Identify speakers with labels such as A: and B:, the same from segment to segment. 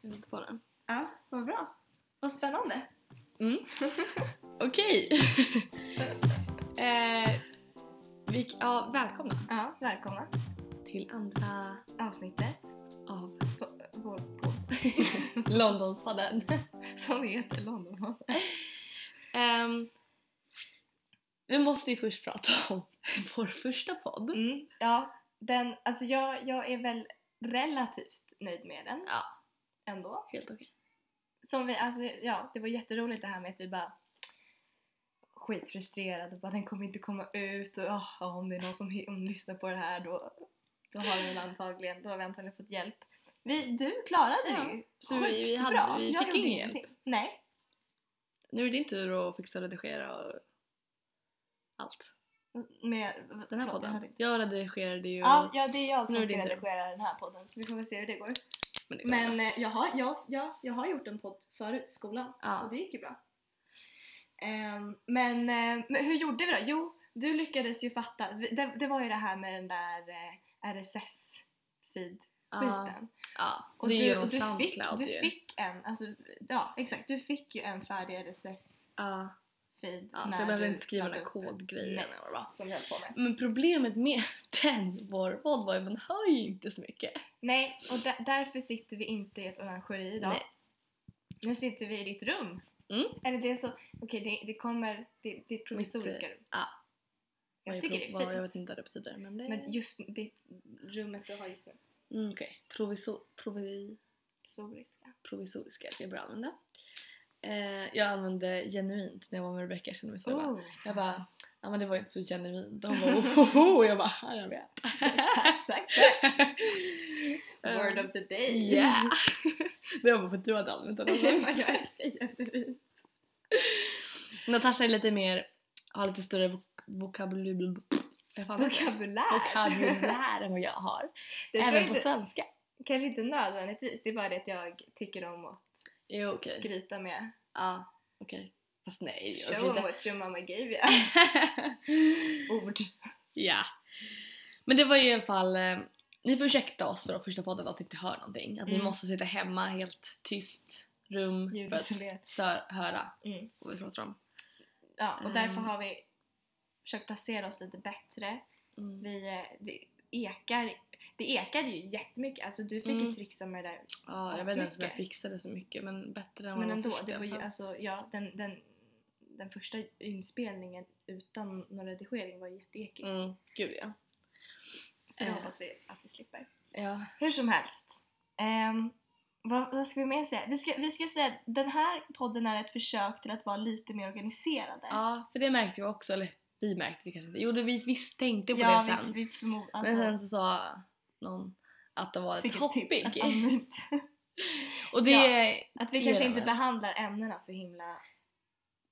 A: Jag gick på den.
B: Ja, vad bra. Vad spännande.
A: Mm. Okej. eh, vi, ja, välkomna
B: Ja, välkomna
A: till andra
B: avsnittet
A: av
B: på vår podd
A: Londonpodden.
B: som heter Londonpodden.
A: Ehm, vi måste ju först prata om vår första podd.
B: Mm. Ja, den, alltså jag, jag är väl relativt nöjd med den
A: Ja,
B: ändå.
A: helt okej.
B: Som vi, alltså ja, det var jätteroligt det här med att vi bara skitfrustrerade och bara den kommer inte komma ut och ah, ja, om det är någon som hi- om lyssnar på det här då, då har vi väl antagligen, då har vi antagligen fått hjälp. Vi, du klarade
A: Ja,
B: det ju
A: så vi- vi hade-
B: bra.
A: vi
B: Jag
A: fick
B: gjorde
A: ingen
B: ingenting. Nej,
A: Nu är det din tur att fixa redigera och allt.
B: med
A: Den här
B: förlåt, jag hörde
A: podden.
B: inte.
A: Jag redigerade ju...
B: Ja, ja, det är jag
A: Så nu
B: som
A: är det
B: ska
A: din tur.
B: redigera den här podden så vi får väl se hur det går.
A: men det går bra.
B: Men eh, jag har, jag, jag, jag har gjort en podd förut, skolan,
A: Ja.
B: och det gick ju bra. Ehm, men, eh, men hur gjorde vi då? Jo, du lyckades ju fatta. Vi- Det, det var ju det här med den där eh, RSS-feed-skiten.
A: Ja, ja.
B: och
A: det är
B: du,
A: ju genom
B: och du, fick,
A: Soundcloud
B: du
A: ju.
B: fick en, alltså, ja exakt, du fick ju en färdig RSS-feed.
A: Ja, ja, så jag behövde inte skriva den där kodgrejen.
B: Nej.
A: eller vad det var.
B: Som jag höll på med.
A: Men problemet med den, vår podd, var ju att man hör ju inte så mycket.
B: Nej, och där- därför sitter vi inte i ett orangeri idag.
A: Nej.
B: Nu sitter vi i ditt rum.
A: Mm.
B: Eller det är så, okej det, det kommer, det, det är provisoriska rum.
A: ja.
B: Jag tycker det är
A: Vad-
B: fint.
A: Jag vet inte vad det betyder. Men det...
B: Men just det rummet du har just nu,
A: Mm, okej. Proviso- provi-
B: provisoriska.
A: provisoriska jag började använda. Eh, jag använde genuint när jag var med Rebecca. Jag kände mig så jag
B: Oh.
A: bara, Oh. jag bara, ja men det var ju inte så genuint. De bara, oh, jag bara, ja, jag vet.
B: tack, tack. Word
A: Eh,
B: of the day.
A: Yeah! det var bara för att du hade använt den.
B: Men jag älskar genuin.
A: Natasha är lite mer, har lite större vok- vokabulär. Jag fan-
B: Vokabulär.
A: Vokabulär än vad jag har.
B: Det tror
A: Även
B: jag
A: på
B: inte,
A: svenska.
B: kanske inte nödvändigtvis, det är bara det att jag tycker om att
A: Jo okej.
B: skryta med
A: Ja okej. Fast nej. jag
B: show
A: blir
B: them
A: inte-
B: what your mama gave you. Ord.
A: Ja. Men det var ju i alla fall... Eh, ni får ursäkta oss för att första podden att ni inte hör någonting. Att ni
B: Mm.
A: måste sitta hemma helt tyst, rum, för att
B: Ljudisolerat.
A: sö- höra
B: Mm.
A: vad vi pratar om.
B: Ja, och därför
A: Ehm.
B: har vi försökt placera oss lite bättre.
A: Mm.
B: Vi, eh, det, ekar, det ekade ju jättemycket, alltså du fick
A: Mm.
B: ju trixa med det där.
A: Ja, jag
B: Tack
A: vet
B: så
A: inte om jag
B: mycket.
A: fixade så mycket men bättre än vad
B: Men
A: jag
B: ändå,
A: första
B: det var ju,
A: fall.
B: alltså, ja, den, den, den första inspelningen utan någon redigering var ju jätteekig.
A: Mm, gud ja.
B: Så det
A: eh.
B: hoppas vi att vi slipper.
A: Ja,
B: Hur som helst. ehm, vad, vad ska vi mer säga? Vi ska, vi ska säga att den här podden är ett försök till att vara lite mer organiserade.
A: ja för det märkte jag också. Eller vi märkte det kanske inte. Jo, det, vi, vi tänkte på
B: ja,
A: det sen.
B: vi, vi förmodar.
A: men sen
B: Alltså,
A: så sa någon att det var ett
B: fick ett tips att,
A: topic.
B: använda-
A: Och det
B: att vi
A: Era
B: kanske inte
A: väl.
B: behandlar ämnena så himla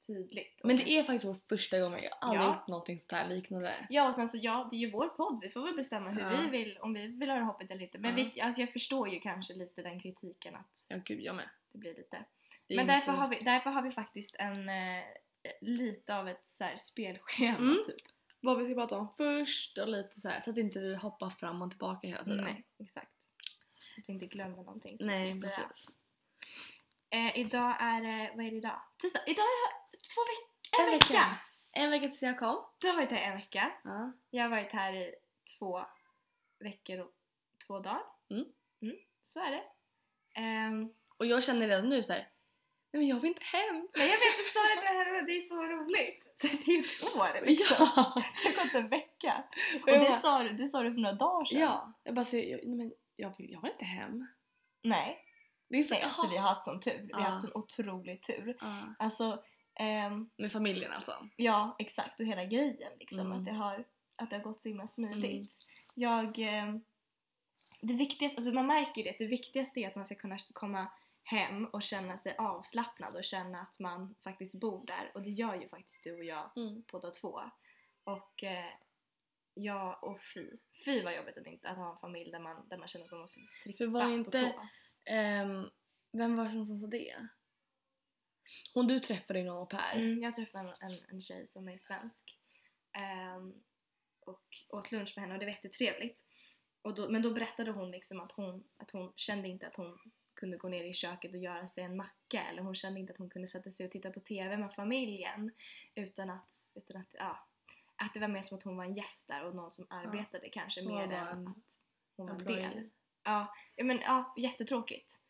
B: tydligt. och
A: Men det är
B: rätt.
A: faktiskt vår första gång, jag har aldrig
B: Ja.
A: gjort någonting sånt här liknande.
B: Ja och sen så ja, det är ju vår podd. Vi får väl bestämma hur
A: Ja.
B: vi vill, om vi vill höra hoppet eller inte. Men
A: Ja.
B: vi, alltså jag förstår ju kanske lite den kritiken att
A: Ja gud, jag med.
B: det blir lite.
A: Det är
B: Men
A: inte-
B: därför har, vi, därför har vi faktiskt en eh, lite av ett så här spelschema
A: Mm.
B: typ.
A: Vad vi ska prata om först och lite så här så att inte vi hoppar fram och tillbaka hela tiden.
B: Nej, exakt. Att vi inte glömmer någonting. som vi
A: Mm. Nej
B: vill säga.
A: precis.
B: Eh, idag är det, vad är det idag? Tisdag? Idag är det två veckor, en,
A: En
B: vecka.
A: vecka. En vecka tills jag kom.
B: Du har varit här en vecka.
A: Ja.
B: Jag har varit här i två veckor och två dagar.
A: Mm.
B: Mm, så är det. Ehm,
A: Och jag känner redan nu så här. nej men jag vill inte hem.
B: Men jag vet, du sa det här det är så roligt! Så det är ju ett år liksom.
A: Ja.
B: Det har gått en vecka. Och
A: jag
B: det
A: bara-
B: sa, du, det sa du för några dagar sedan.
A: ja. Jag bara säger, jag, nej, men jag vill, jag vill inte hem.
B: Nej,
A: Det är så
B: nej
A: här,
B: alltså vi har haft sån tur. Vi har
A: Ja.
B: haft sån otrolig tur.
A: ja.
B: Alltså, ehm,
A: Med familjen alltså.
B: ja exakt och hela grejen liksom.
A: Mm.
B: Att, det har, att det har gått så himla smidigt. Jag, ehm, det viktigaste, alltså man märker ju det, att det viktigaste är att man ska kunna komma hem och känna sig avslappnad och känna att man faktiskt bor där. Och det gör ju faktiskt du och jag
A: Mm.
B: båda två. Och eh, ja, och fy. Fy vad jobbigt att, inte, att ha en familj där man, där man känner att man måste trippa
A: Det var
B: på
A: inte-
B: tå.
A: Ehm, vem var det som sa det? Hon du träffade ju någon au pair.
B: Mm, jag träffade en, en, en tjej som är svensk ehm, och åt lunch med henne och det var jättetrevligt. Och då, men då berättade hon liksom att hon, att hon kände inte att hon kunde gå ner i köket och göra sig en macka eller hon kände inte att hon kunde sätta sig och titta på TV med familjen utan att, utan att, ja, att det var mer som att hon var en gäst där och någon som arbetade kanske
A: Hon
B: mer
A: var
B: än
A: en-
B: att hon var
A: En
B: en
A: bra
B: del.
A: grej.
B: Ja, ja, men ja, jättetråkigt.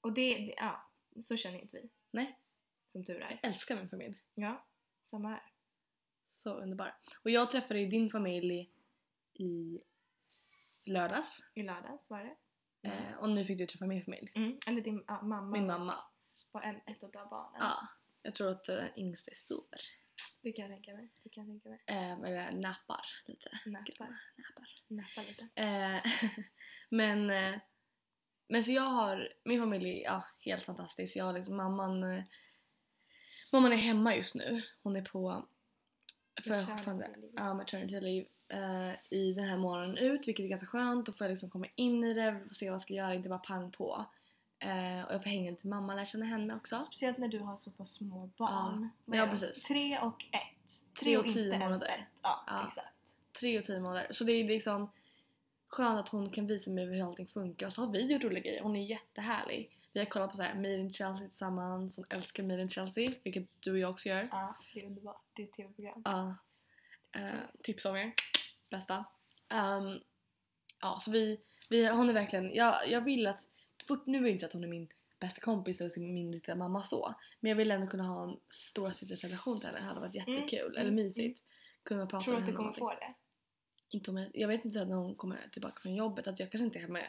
B: Och det, det ja, så känner ju inte vi.
A: Nej.
B: Som tur
A: Jag
B: är.
A: älskar min familj.
B: Ja, samma här.
A: Så underbara. Och jag träffade ju din familj i lördags.
B: I lördags var det.
A: Eh, och nu fick du träffa min familj.
B: Mm. Eller din Mm. ja, mamma.
A: Min mamma.
B: Och en, ett av barnen.
A: Ja. Jag tror att den yngsta är stor.
B: Det kan jag tänka mig. Det kan jag tänka mig.
A: Eh, eller näpar lite.
B: Näppar.
A: Näpar.
B: Näppar lite.
A: Eh, men, eh, men så jag har, min familj är ja, helt fantastisk. Jag har liksom mamman, eh, mamman är hemma just nu. Hon är på för jag har fortfarande,
B: Maternity leave.
A: ja, maternity leave eh, i den här månaden ut vilket är ganska skönt. Då får jag liksom komma in i det, se vad jag ska göra, inte bara pang på. Eh, och jag får hänga lite mamma, lära känna henne också.
B: Speciellt när du har så pass små barn.
A: Ja.
B: Vad
A: Ja,
B: är de?
A: precis.
B: Tre och
A: Tre
B: ett. Tre
A: och
B: och inte
A: tio
B: ens
A: månader.
B: ett. Ja,
A: Ja.
B: exakt.
A: Tre och tio månader. Så det är liksom skönt att hon kan visa mig hur allting funkar. Och så har vi gjort roliga grejer. Hon är jättehärlig. Vi har kollat på så här Made in Chelsea tillsammans. Hon älskar Made in Chelsea, vilket du och jag också gör.
B: Ja, det är underbart. Det är ett tv-program.
A: Ja.
B: Tips om
A: Eh,
B: er.
A: tips om er. Bästa. Ehm, ja, så vi, vi, hon är verkligen, jag, jag vill att, fort, nu är det inte att hon är min bästa kompis eller min lilla mamma så, men jag vill ändå kunna ha en stora systers relation till henne, det hade varit jättekul, eller
B: mm,
A: mysigt. Kunna prata
B: Tror du
A: med
B: att du
A: henne om
B: kommer
A: allting.
B: få det?
A: Inte om jag, jag vet inte så att när hon kommer tillbaka från jobbet att jag kanske inte är hemma
B: Typ.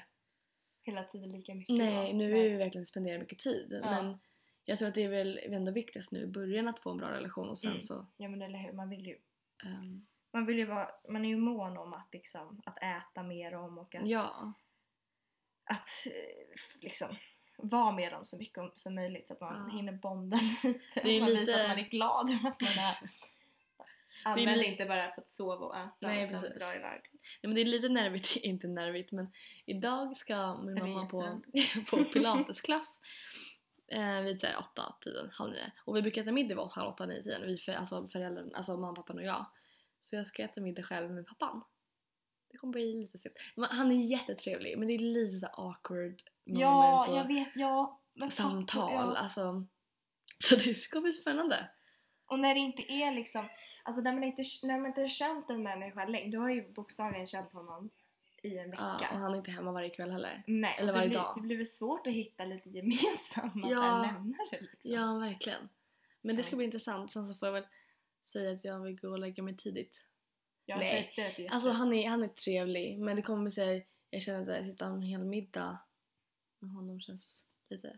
B: Hela tiden lika mycket?
A: Nej,
B: då?
A: nu är vi verkligen spenderar mycket tid.
B: Ja.
A: Men jag tror att det är väl ändå viktigast nu i början att få en bra relation och sen
B: Mm.
A: så...
B: Ja men eller hur, man vill ju
A: ehm,
B: man vill ju vara, man är ju mån om att liksom, att äta mer om och att,
A: ja.
B: att eh, liksom vara med dem så mycket om, som möjligt så att man
A: Ja.
B: hinner bonda lite.
A: Det är ju
B: man
A: lite-
B: visar att man är glad över att man är använd
A: li-
B: inte bara för att sova och äta
A: Nej,
B: och sen
A: precis.
B: dra iväg.
A: Nej, men det är lite nervigt, inte nervigt men idag ska min
B: Det är
A: mamma på, på pilatesklass eh, vid såhär åtta, tiden, halv nio. Och vi brukar äta middag vid åtta, halv åtta, nio, tiden. Vi för, alltså föräldrarna, alltså mamma, pappan och jag. Så jag ska äta middag själv med pappan. Det kommer bli lite sent. Men han är jättetrevlig men det är lite så här awkward
B: Ja,
A: moments och
B: jag vet, ja. men pappa-
A: samtal.
B: ja.
A: Alltså, så det ska bli spännande.
B: Och när det inte är liksom, alltså när man inte, när man inte har känt en människa länge, du har ju bokstavligen känt honom i en vecka.
A: Ja, och han är inte hemma varje kväll heller.
B: Nej,
A: Eller
B: och det
A: varje
B: blir,
A: dag.
B: Det blir väl svårt att hitta lite gemensamma
A: Ja.
B: ja. nämnare liksom.
A: Ja, verkligen. Men det ska
B: Ja.
A: bli intressant. Sen så får jag väl säga att jag vill gå och lägga mig tidigt.
B: Jag
A: Nej.
B: säger- säger att du är
A: Alltså
B: jätte-
A: han är, han är trevlig men det kommer sig jag känner att jag sitter en hel middag med honom känns lite...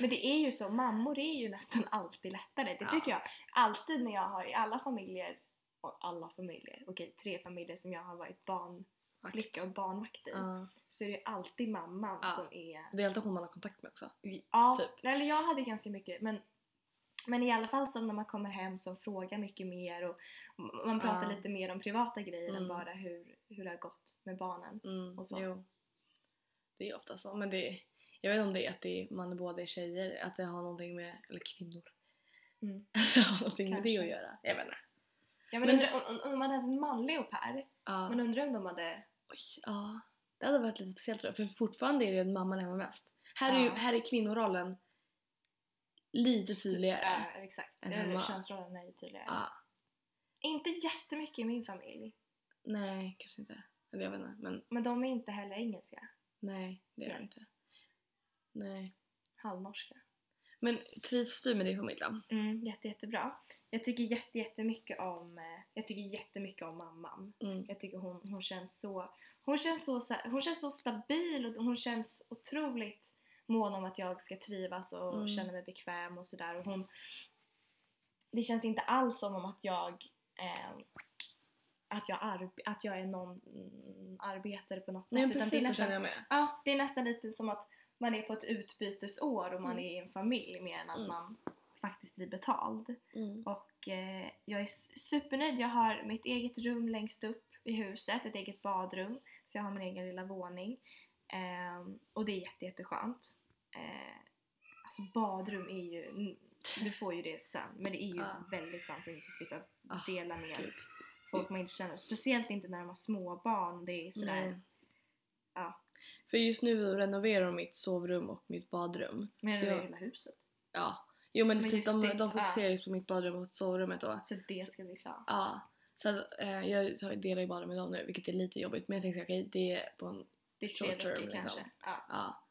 B: Men det är ju så, mammor är ju nästan alltid lättare. Det
A: Ja.
B: tycker jag. Alltid när jag har i alla familjer, och alla familjer, okej tre familjer som jag har varit barnflicka och barnvakt i.
A: Ja.
B: Så är det ju alltid mamman
A: Ja.
B: som är...
A: Det är alltid hon man har kontakt med också.
B: Ja,
A: Typ.
B: eller jag hade ganska mycket men men i alla fall som när man kommer hem som frågar mycket mer och man pratar
A: Ja.
B: lite mer om privata grejer
A: Mm.
B: än bara hur, hur det har gått med barnen.
A: Mm,
B: Och så.
A: Jo. Det är ofta så men det jag vet inte om det är att det är, man båda är tjejer, att det har någonting med, eller kvinnor,
B: Mm.
A: att det har någonting med det
B: Kanske.
A: att göra. Jag vet inte.
B: Ja, men
A: Men-
B: undrar, om, om man hade haft en manlig au pair,
A: Ja.
B: man undrar om de hade...
A: Oj, ja. Det hade varit lite speciellt tror jag, för fortfarande är det att mamman är hemma mest. Här är, ju,
B: Ja.
A: här är kvinnorollen lite tydligare.
B: Ja, exakt.
A: än
B: Eller
A: hemma.
B: könsrollen är ju tydligare.
A: Ja.
B: Inte jättemycket i min familj,
A: Nej, kanske inte. Eller jag vet inte, men
B: men de är inte heller engelska.
A: nej, det är det
B: Jämt.
A: inte. Nej.
B: Halvnorska.
A: Men trivs du med din familj då?
B: Mm, jätte, jättebra. Jag tycker jätte, jättemycket om, eh, jag tycker jättemycket om mamman.
A: Mm.
B: Jag tycker hon, hon känns så hon känns så, så här- hon känns så stabil och hon känns otroligt mån om att jag ska trivas och
A: Mm.
B: känna mig bekväm och sådär och hon det känns inte alls som om att jag eh, att jag, arb- att jag är någon mm, arbetare på något sätt
A: Nej,
B: det är,
A: precis alltså, så känner jag
B: nästan,
A: med.
B: ja, det är nästan lite som att man är på ett utbytesår och man
A: Mm.
B: är i en familj mer än att
A: Mm.
B: man faktiskt blir betald
A: Mm.
B: och eh, jag är s- supernöjd. Jag har mitt eget rum längst upp i huset, ett eget badrum. Så jag har min egen lilla våning. Ehm, och det är jätte, jätteskönt. Eh, alltså badrum är ju, du får ju det sen, men det är ju
A: Ja.
B: väldigt skönt att inte slippa
A: Ah,
B: dela med
A: gud.
B: folk man inte känner. Speciellt inte när de har små barn. Det är sådär,
A: Nej.
B: ja.
A: För just nu renoverar de mitt sovrum och mitt badrum.
B: Men
A: Så
B: det är
A: jag-
B: hela huset.
A: Ja. Jo men, Ah.
B: Men
A: precis,
B: just
A: de,
B: ditt,
A: de fokuserar
B: ja.
A: just på mitt badrum och sovrummet då.
B: Så det ska bli klart.
A: Ja. Så att, eh, jag tar- delar ju badrum med dem nu vilket är lite jobbigt men jag tänkte okej det är på en...
B: Det är tre
A: Short term,
B: veckor
A: liksom.
B: kanske. Ja.
A: Ja.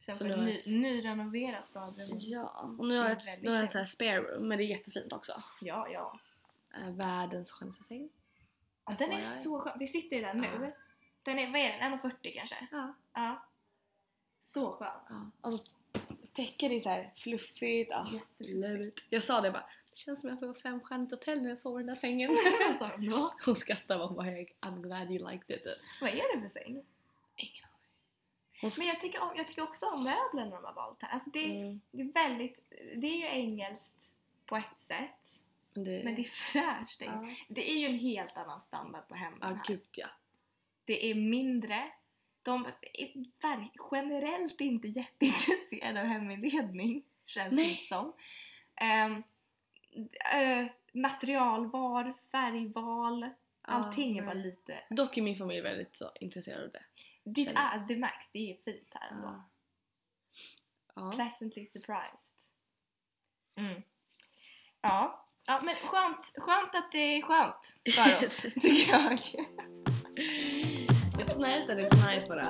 B: Sen
A: Så
B: får
A: nu
B: ett
A: har
B: ny,
A: jag ett-
B: nyrenoverat badrum.
A: Ja. Och nu har jag
B: Det är
A: ett,
B: väldigt
A: nu har jag ett så här spare room men det är jättefint också.
B: Ja, ja.
A: Eh, världens skönaste säng.
B: ja den är
A: Oj, oj.
B: så skön. Vi sitter i den
A: Ja.
B: nu. Den är, vad är den? 1,40 kanske?
A: Ja.
B: Ja. Så skön.
A: Ja. Alltså, täcket är så här fluffigt. Ja.
B: Jättefluffigt.
A: Love it. Jag sa det bara. Det känns som att jag får ett femstjärnigt hotell när jag sover i den där sängen.
B: Alltså, no.
A: Hon skrattar bara. hon bara, I'm glad you liked it.
B: Vad är det för säng?
A: Ingen
B: aning. Men jag tycker, om, jag tycker också om möblerna de har valt här. Alltså det,
A: Mm.
B: det är väldigt... Det är ju engelskt på ett sätt.
A: Men det...
B: Men det är fräscht engelskt.
A: ja.
B: Det är ju en helt annan standard på hemmen
A: Ja,
B: här.
A: gud ja.
B: Det är mindre. De är ver- generellt inte jätteintresserade av heminredning, känns det
A: Nej.
B: inte som. Ehm, eh, materialval, färgval, allting är
A: Ja.
B: bara lite...
A: Dock är min familj väldigt så intresserad av det.
B: Det,
A: Känner-
B: är, det märks, det är fint här ändå.
A: Ja. Ja.
B: Pleasantly surprised. Mm. Ja. ja, men skönt, skönt att det är skönt för oss, tycker jag.
A: It's nice that it's nice bara.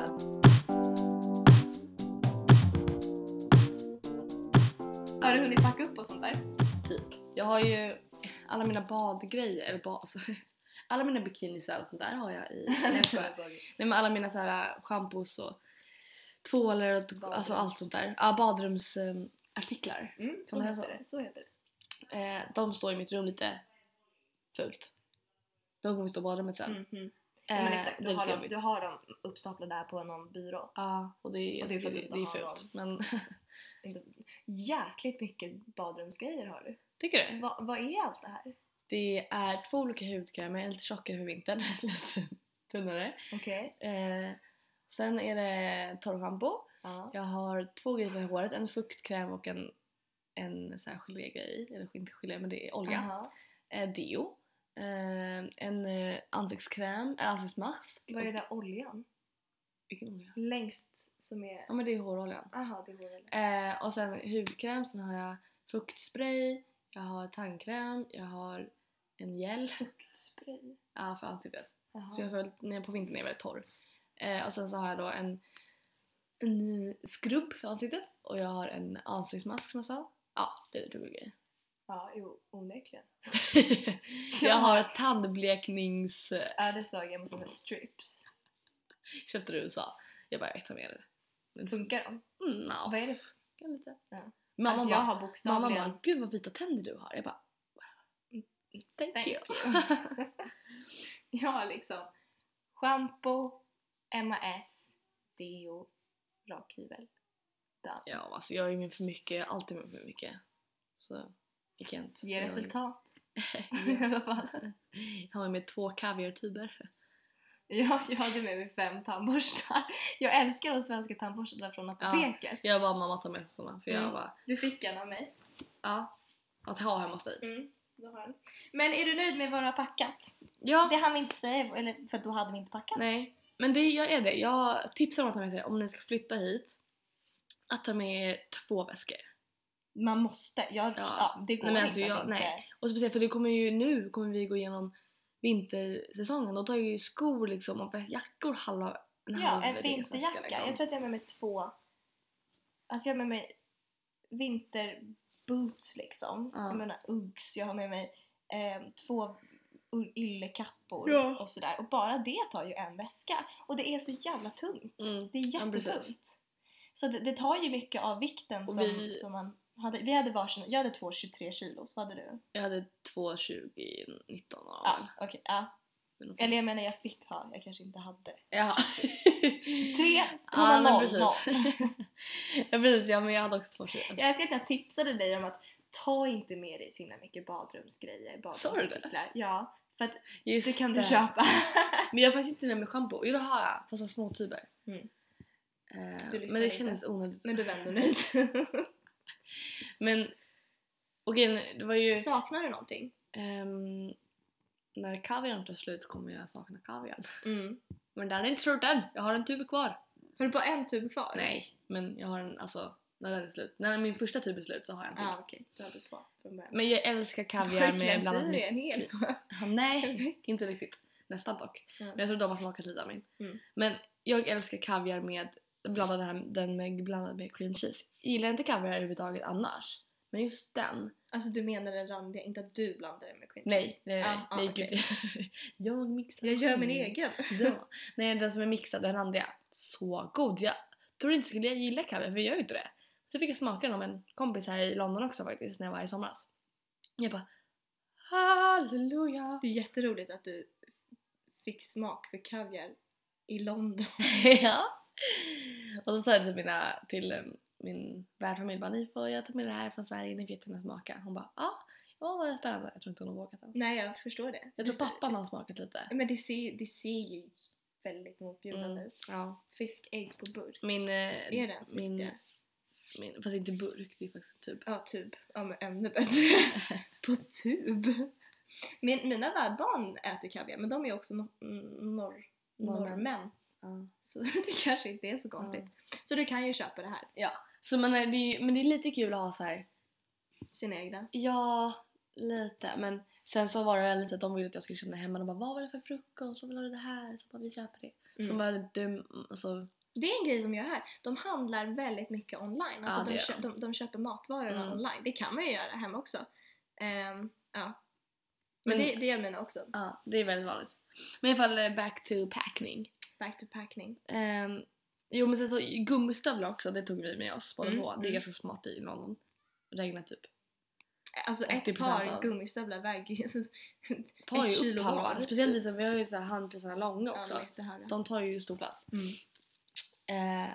B: Har du hunnit packa upp och sånt där?
A: Typ. Jag har ju alla mina badgrejer, eller bad, alltså, alla mina bikinisar och sånt där har jag i. Nej, jag skojar. Nej men alla mina så här äh, shampoos och tvålar och alltså allt sånt där. Ja, badrumsartiklar.
B: Mm, så,
A: Kan det
B: heter
A: vara så?
B: det, så heter det.
A: Eh, de står i mitt rum lite fult. De kommer stå i badrummet sen.
B: Mhm.
A: Eh,
B: men exakt,
A: det
B: du
A: är
B: har,
A: lite
B: dem,
A: jobbigt.
B: du har dem uppstaplade där på någon byrå.
A: Ja, och det är,
B: Och det är för att
A: det,
B: inte
A: det är
B: ha
A: fult.
B: dem.
A: Men
B: Inte- Jäkligt mycket badrumsgrejer har du.
A: tycker du?
B: Va, vad är allt det här?
A: Det är två olika hudkrämer, en lite tjockare för vintern, lite tunnare.
B: Okej.
A: Eh, sen är det torrschampo.
B: Ja.
A: Jag har två grejer för håret, en fuktkräm och en, en så här gelégrej i. Eller inte gelé, men det är olja.
B: Aha.
A: Eh, deo. Eh, en eh, ansiktskräm, eller ansiktsmask.
B: Vad är det där oljan?
A: Vilken olja?
B: Längst som är...
A: Ja men det är håroljan.
B: Aha, det går väl.
A: Eh, och sen hudkräm, sen har jag fuktspray, jag har tandkräm, jag har en gel
B: Fuktspray.
A: ja, för ansiktet. Så
B: Jaha.
A: jag höll, när jag på vintern är jag väldigt torr. Eh, och sen så har jag då en, en eh, skrubb för ansiktet och jag har en ansiktsmask som jag sa. Ja, det är två grejer.
B: Ja, jo, onekligen.
A: jag har tandbleknings... eh,
B: Ja, det såg jag med såna strips.
A: Köpte du i USA. Jag bara, jag tar med det. Men-
B: Funkar de?
A: Mm, no.
B: Vad är det för...
A: Lite.
B: Ja.
A: Mamma
B: alltså jag
A: bara,
B: har
A: mamma
B: bokstavligen...
A: bara, gud vad vita tänder du har. Jag bara, wow. Thank,
B: Thank
A: you.
B: you. jag har liksom shampoo, MAS, deo, rakhyvel.
A: Ja, alltså jag är med för mycket, jag är alltid med för mycket. Så, jag kan inte.
B: Ger
A: Jag-
B: resultat i
A: Ja.
B: alla fall.
A: Jag har med två kaviartuber.
B: Ja, jag hade med mig fem tandborstar. Jag älskar de svenska tandborstarna från apoteket.
A: Jag bara mamma tar med sig såna för jag
B: Mm.
A: bara
B: Du fick en av mig.
A: ja, att ha hemma hos dig.
B: Mm, du har en. Men är du nöjd med vad du har packat?
A: Ja,
B: Det hann vi inte säga, eller, för då hade vi inte packat.
A: nej. Men det, jag är det. Jag tipsar om att ta med sig om ni ska flytta hit att ta med er två väskor.
B: Man måste. Jag, ja.
A: Ja.
B: det går
A: Nej, men
B: inte
A: alltså
B: att
A: jag-
B: inte-
A: nej. Och speciellt för det kommer ju nu kommer vi gå igenom vintersäsongen då tar ju skor liksom och jackor halva en
B: Ja,
A: halv
B: en
A: resväska,
B: vinterjacka.
A: liksom.
B: Jag tror att jag har med mig två... Alltså jag har med mig vinterboots liksom.
A: Ja.
B: Jag menar Uggs. Jag har med mig eh, två u- yllekappor
A: Ja.
B: och sådär. Och bara det tar ju en väska. Och det är så jävla tungt.
A: Mm.
B: Det är
A: Ja, precis.
B: jättetungt. Så det, det tar ju mycket av vikten
A: Och
B: som,
A: vi-
B: som man hade. Vi hade varsin, jag hade två 23 kilo, så hade du?
A: Jag hade två 2019 av
B: Ja,
A: väl.
B: okej. ja.
A: Men-
B: Eller jag menar jag fick ha, jag kanske inte hade.
A: Ja.
B: Tre,
A: ja,
B: noll,
A: men precis.
B: noll.
A: ja precis, ja, men jag hade också två 20.
B: Jag älskar att jag tipsade dig om att ta inte med dig så himla mycket badrumsgrejer, badrumsartiklar. Ja, för att
A: Just
B: det kan du
A: det.
B: köpa.
A: Men jag har faktiskt inte med mig schampo. Jo det har jag, fast av små tuber.
B: Mm.
A: Eh,
B: Du lyssnar
A: men det
B: inte.
A: kändes onödigt.
B: Men du vänder nöjd.
A: Men okej, det var ju...
B: Saknar du någonting?
A: ehm, när kaviarn tar slut kommer jag sakna kaviarn.
B: Mm.
A: Men den är inte slut än, jag har en tub kvar.
B: Har du bara en tub kvar?
A: Nej, men jag har en, alltså när den är slut. När min första tub är slut så har jag en
B: Ja,
A: till.
B: ah, okej. Då hade du två från början.
A: Men jag älskar Mm. kaviar med bland annat
B: Du
A: mycket.
B: en hel på
A: Ja, Nej, inte riktigt. Nästan dock.
B: Mm.
A: Men jag tror de har smakat lite av min.
B: Mm.
A: Men jag älskar kaviar med blandad, här, den med, blandad med cream cheese. Jag gillar inte kaviar överhuvudtaget annars. Men just den.
B: Alltså du menar den randiga, inte att du blandar den med cream
A: Nej,
B: cheese.
A: nej, nej.
B: Ah, ah,
A: nej
B: okej.
A: gud. jag mixar.
B: Jag gör min
A: själv.
B: egen.
A: Ja. Nej, den som är mixad, den randiga. Så god! Jag tror inte skulle jag gilla kaviar, för jag gör ju inte det. Så fick jag smaka den av en kompis här i London också faktiskt, när jag var här i somras. Jag bara Halleluja!
B: Det är jätteroligt att du fick smak för kaviar i London.
A: ja. Och så sa jag till, mina, till eh, min värdfamilj bara ni får, jag tar med det här från Sverige, ni får jättegärna smaka. Hon bara ah, ja vad spännande. Jag tror inte hon har vågat den.
B: Nej, jag förstår det.
A: Jag tror
B: Visst-
A: pappan har smakat lite.
B: Men det ser, ju- det ser ju väldigt motbjudande
A: Mm.
B: ut.
A: Ja.
B: Fiskägg på burk.
A: Min, eh,
B: Är det ens
A: min,
B: riktiga?
A: min, fast inte burk, det är faktiskt typ, tub.
B: Ja, tub. Ja, men ännu bättre. på tub. Min, mina värdbarn äter kaviar, men de är också no- mm, norr,
A: Norrmän.
B: norrmän.
A: Ja.
B: Så det kanske inte är så konstigt. Så du kan ju köpa det här.
A: Så man är, det är, ju- men det är lite kul att ha så här.
B: Sina egna.
A: ja, lite. Men sen så var det lite att de ville att jag skulle känna hemma. De bara, vad var det för frukost? Vad vill du det här? Så bara, vi köper det. Så
B: Mm.
A: bara, du, alltså,
B: Det är en grej de gör här. De handlar väldigt mycket online. Alltså
A: Ja, det
B: de,
A: gör
B: kö- de, de köper matvarorna
A: Mm.
B: online. Det kan man ju göra hemma också. Ehm, ja.
A: Men-
B: Men, det, det gör mina också.
A: ja, det är väldigt vanligt. Men i alla fall eh, back to packning.
B: Back to packning.
A: Ehm, jo men sen så gummistövlar också, det tog vi med oss båda
B: Mm,
A: två. Det är
B: mm.
A: ganska smart i London. Regna typ.
B: Alltså ett
A: 80%
B: par
A: av-
B: gummistövlar väger ju så-
A: Tar
B: ett
A: ju
B: kilo
A: upp
B: var.
A: halva. Speciellt vi som- vi har ju så här handkläder långa
B: Ja,
A: också.
B: de är jättehöga.
A: De tar ju stor plats.
B: Mm.
A: Eh,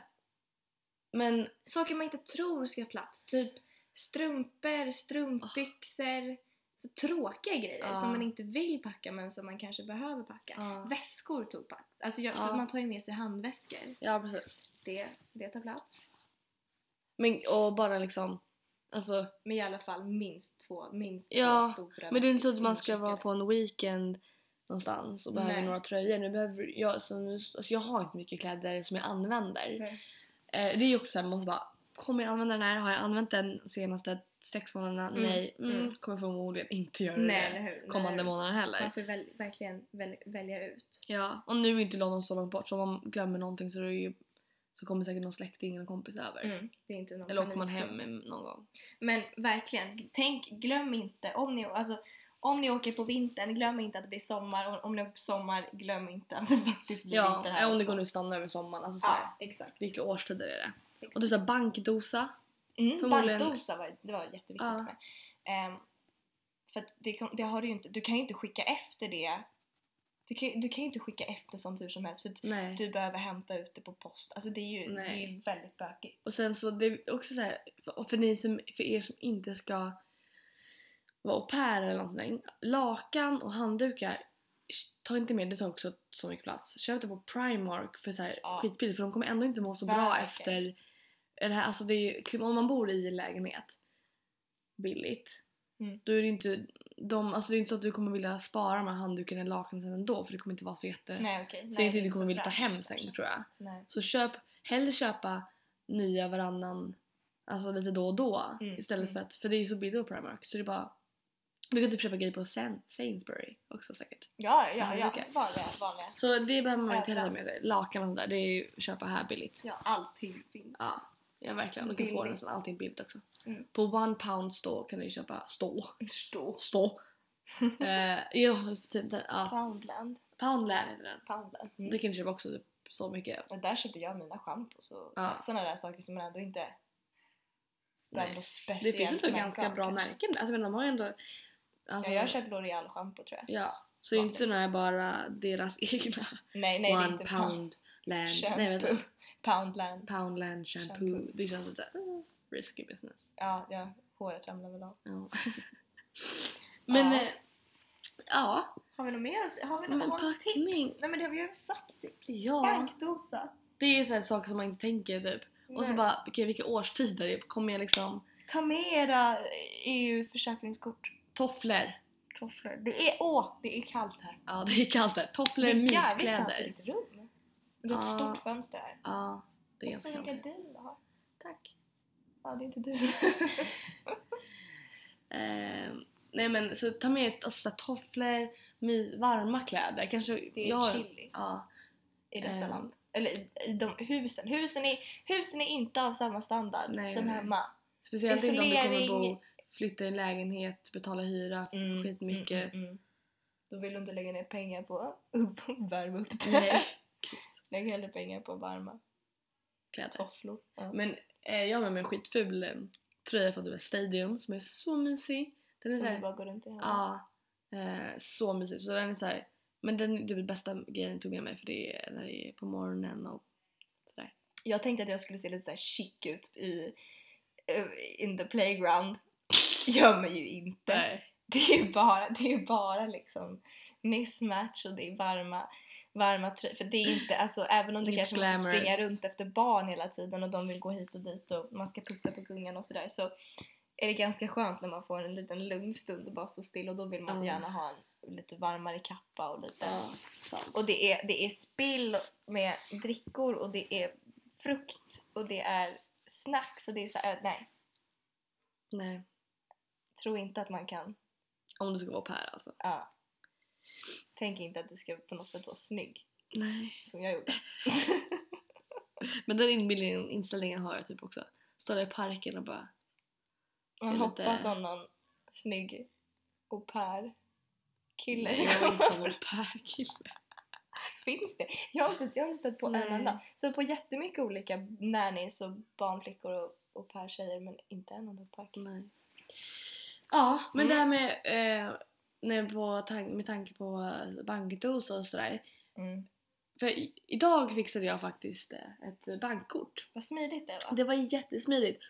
A: men
B: Saker man inte tror ska ha plats. Typ strumpor,
A: Ah.
B: strumpbyxor. Så tråkiga grejer
A: Ja.
B: som man inte vill packa men som man kanske behöver packa.
A: Ja.
B: Väskor tog plats. Alltså jag,
A: Ja.
B: för man tar ju med sig handväskor.
A: ja precis.
B: Det, det tar plats.
A: Men, och bara liksom, alltså
B: Men i alla fall minst två, minst
A: Ja,
B: två stora
A: Men det är inte
B: väskor
A: så att man ska
B: incheckade.
A: vara på en weekend någonstans och behöver
B: Nej.
A: några tröjor. Nu behöver jag, så nu, alltså jag har inte mycket kläder som jag använder.
B: Nej.
A: Eh, det är ju också såhär, man måste bara, kommer jag använda den här? Har jag använt den de senaste sex månaderna?
B: Mm,
A: Nej. Mm,
B: mm.
A: Kommer förmodligen inte göra
B: Nej, eller
A: det
B: hur?
A: kommande
B: Nej.
A: månader heller.
B: Man får väl, verkligen väl, välja ut.
A: Ja, och nu är inte London så långt bort så om man glömmer någonting så, är det ju, så kommer säkert någon släkting eller kompis över.
B: Mm. Det är inte någon
A: Eller åker man
B: panik så.
A: hem någon gång.
B: Men verkligen, tänk, glöm inte om ni, alltså, om ni åker på vintern, glöm inte att det blir sommar. Och om ni åker på sommar, glöm inte att det faktiskt blir vinter
A: Ja,
B: här
A: om det
B: också.
A: går nu att stanna över sommaren. Alltså, såhär,
B: Ja, exakt.
A: Vilka årstider är det?
B: exakt.
A: Och du sa bankdosa.
B: mm,
A: förmodligen-
B: Bankdosa var, det var jätteviktigt
A: Ja.
B: med. Ehm, för att det, kan- det har du ju inte, du kan ju inte skicka efter det. Du kan, ju- du kan ju inte skicka efter sånt hur som helst för att
A: Nej.
B: du behöver hämta ut det på post. Alltså det är ju, det är
A: Nej.
B: ju väldigt bökigt.
A: Och sen så, det är också så här, och för, ni som, för er som inte ska vara au pair eller någonting. Lakan och handdukar, ta inte med, det tar också så mycket plats. Köp det på Primark för så här,
B: Ja.
A: skitbilligt för de kommer ändå inte må så bra
B: Verkligen.
A: efter det här. Alltså det är, ju- klim- om man bor i en lägenhet billigt,
B: Mm.
A: då är det inte de, alltså det är inte så att du kommer vilja spara de här handdukarna eller lakanen ändå för det kommer inte vara så jätte...
B: Nej okej.
A: så
B: Nej,
A: inte
B: det är
A: du kommer
B: så
A: vilja ta
B: fräscht,
A: hem
B: kanske.
A: sen tror jag.
B: Nej.
A: Så köp, hellre köpa nya varannan, alltså lite då och då
B: Mm,
A: istället för att, för det är ju så billigt på Primark så det är bara du kan typ köpa grejer på Sen, Sainsbury också säkert.
B: Ja, ja, ja.
A: Handdukar.
B: Vanliga, vanliga.
A: Så det behöver man inte heller
B: Överallt.
A: med det. Lakan och sånt där, det är ju köpa här billigt.
B: Ja, allting finns.
A: Ja, ja verkligen. Du kan få
B: Billigt.
A: nästan allting billigt också.
B: Mm.
A: På One Pound Store kan du ju köpa stå.
B: Stå.
A: Stå. eh, ja, så typ den, ja.
B: Poundland.
A: Poundland heter den.
B: Poundland.
A: Det kan du köpa också typ så mycket.
B: Och Mm. där köpte jag mina schampos och
A: Ja.
B: sådana där saker som man ändå inte...
A: Nej.
B: Ändå
A: Det
B: speciellt
A: finns ju ändå
B: märkbart,
A: ganska bra
B: kanske.
A: märken. Alltså men de har ju ändå... alltså-
B: Ja, jag köpte L'Oreal schampo tror jag.
A: Ja, så det är inte såna här bara deras egna
B: Nej, nej det är
A: One
B: inte
A: pound land,
B: Shampoo.
A: nej vänta,
B: Poundland.
A: pound land shampoo.
B: Shampoo.
A: Det känns lite uh, risky business.
B: Ja, ja, håret ramlar väl av.
A: Ja. Men ja,
B: Ja.
A: eh, ja,
B: Har vi något mer? att se- Har vi
A: Men
B: något annat
A: packning.
B: tips? Nej men det har vi ju sagt tips.
A: ja.
B: Bankdosa.
A: Det är så här saker som man inte tänker typ. Och så
B: Nej.
A: bara, okej vilka årstider är det? Kommer jag liksom
B: Ta med era EU-försäkringskort.
A: tofflor?
B: Tofflor. Det är, åh, det är kallt här.
A: Ja det är kallt där. Tofflor,
B: jävligt kallt i
A: myskläder.
B: ditt rum. Det är ett
A: Ja.
B: stort fönster här.
A: Ja. Det är ganska
B: Vilka
A: skönt.
B: gardiner du har.
A: Tack.
B: Ja, det är inte du som...
A: Eh, nej men så ta med alltså, så här, tofflor, my, varma kläder. Kanske,
B: Det är
A: jag,
B: chili
A: Ja,
B: i detta
A: ehm.
B: land. Eller i, i de husen. Husen är, husen är inte av samma standard
A: Nej,
B: som
A: nej.
B: hemma.
A: speciellt inte om du kommer
B: Isolering.
A: bo, flytta i en lägenhet, betala hyra
B: Mm,
A: skitmycket.
B: mm, mm. Då vill du inte lägga ner pengar på att värma upp det.
A: Nej,
B: Lägg hellre pengar på varma
A: kläder.
B: tofflor. Ja.
A: Men eh, jag har med mig en skitful eh, tröja från typ Stadium som är så mysig. Den är
B: Som
A: såhär,
B: du bara går runt i hemma.
A: ja, eh, så mysig. Så den är såhär, men den det är den bästa grejen tog jag med för det är när det är på morgonen och
B: Jag tänkte att jag skulle se lite såhär chic ut i eh, in the playground. Gör man ju inte.
A: Nej.
B: Det är ju bara, det är ju bara liksom mismatch och det är varma, varma tröjor. För det är inte, alltså även om du
A: Lite
B: kanske måste
A: glamorous.
B: springa runt efter barn hela tiden och de vill gå hit och dit och man ska putta på gungan och sådär så är det ganska skönt när man får en liten lugn stund och bara stå still och då vill man
A: Ja.
B: gärna ha en lite varmare kappa och lite
A: Ja, sant.
B: och det är, det är spill med drickor och det är frukt och det är snacks och det är så här, äh, nej,
A: Nej.
B: tro inte att man kan,
A: Om du ska vara på här alltså.
B: ja. Tänk inte att du ska på något sätt vara snygg
A: Nej.
B: som jag gjorde.
A: Men den inbildningen, inställningen har jag typ också. Står där i parken och bara
B: Man
A: lite-
B: hoppas som någon snygg au pair kille.
A: Nej, jag vill inte vara vår pärkille.
B: Finns det? Jag har inte, jag har inte stött på
A: Nej.
B: en enda. Så på jättemycket olika nannies och barnflickor och au pair tjejer men inte en enda au pair kille.
A: Nej. Ja, men
B: Mm.
A: det här med, eh, när på tan- med tanke på bankdos och sådär.
B: Mm.
A: För i- idag fixade jag faktiskt eh, ett bankkort.
B: Vad smidigt det var.
A: Det var jättesmidigt.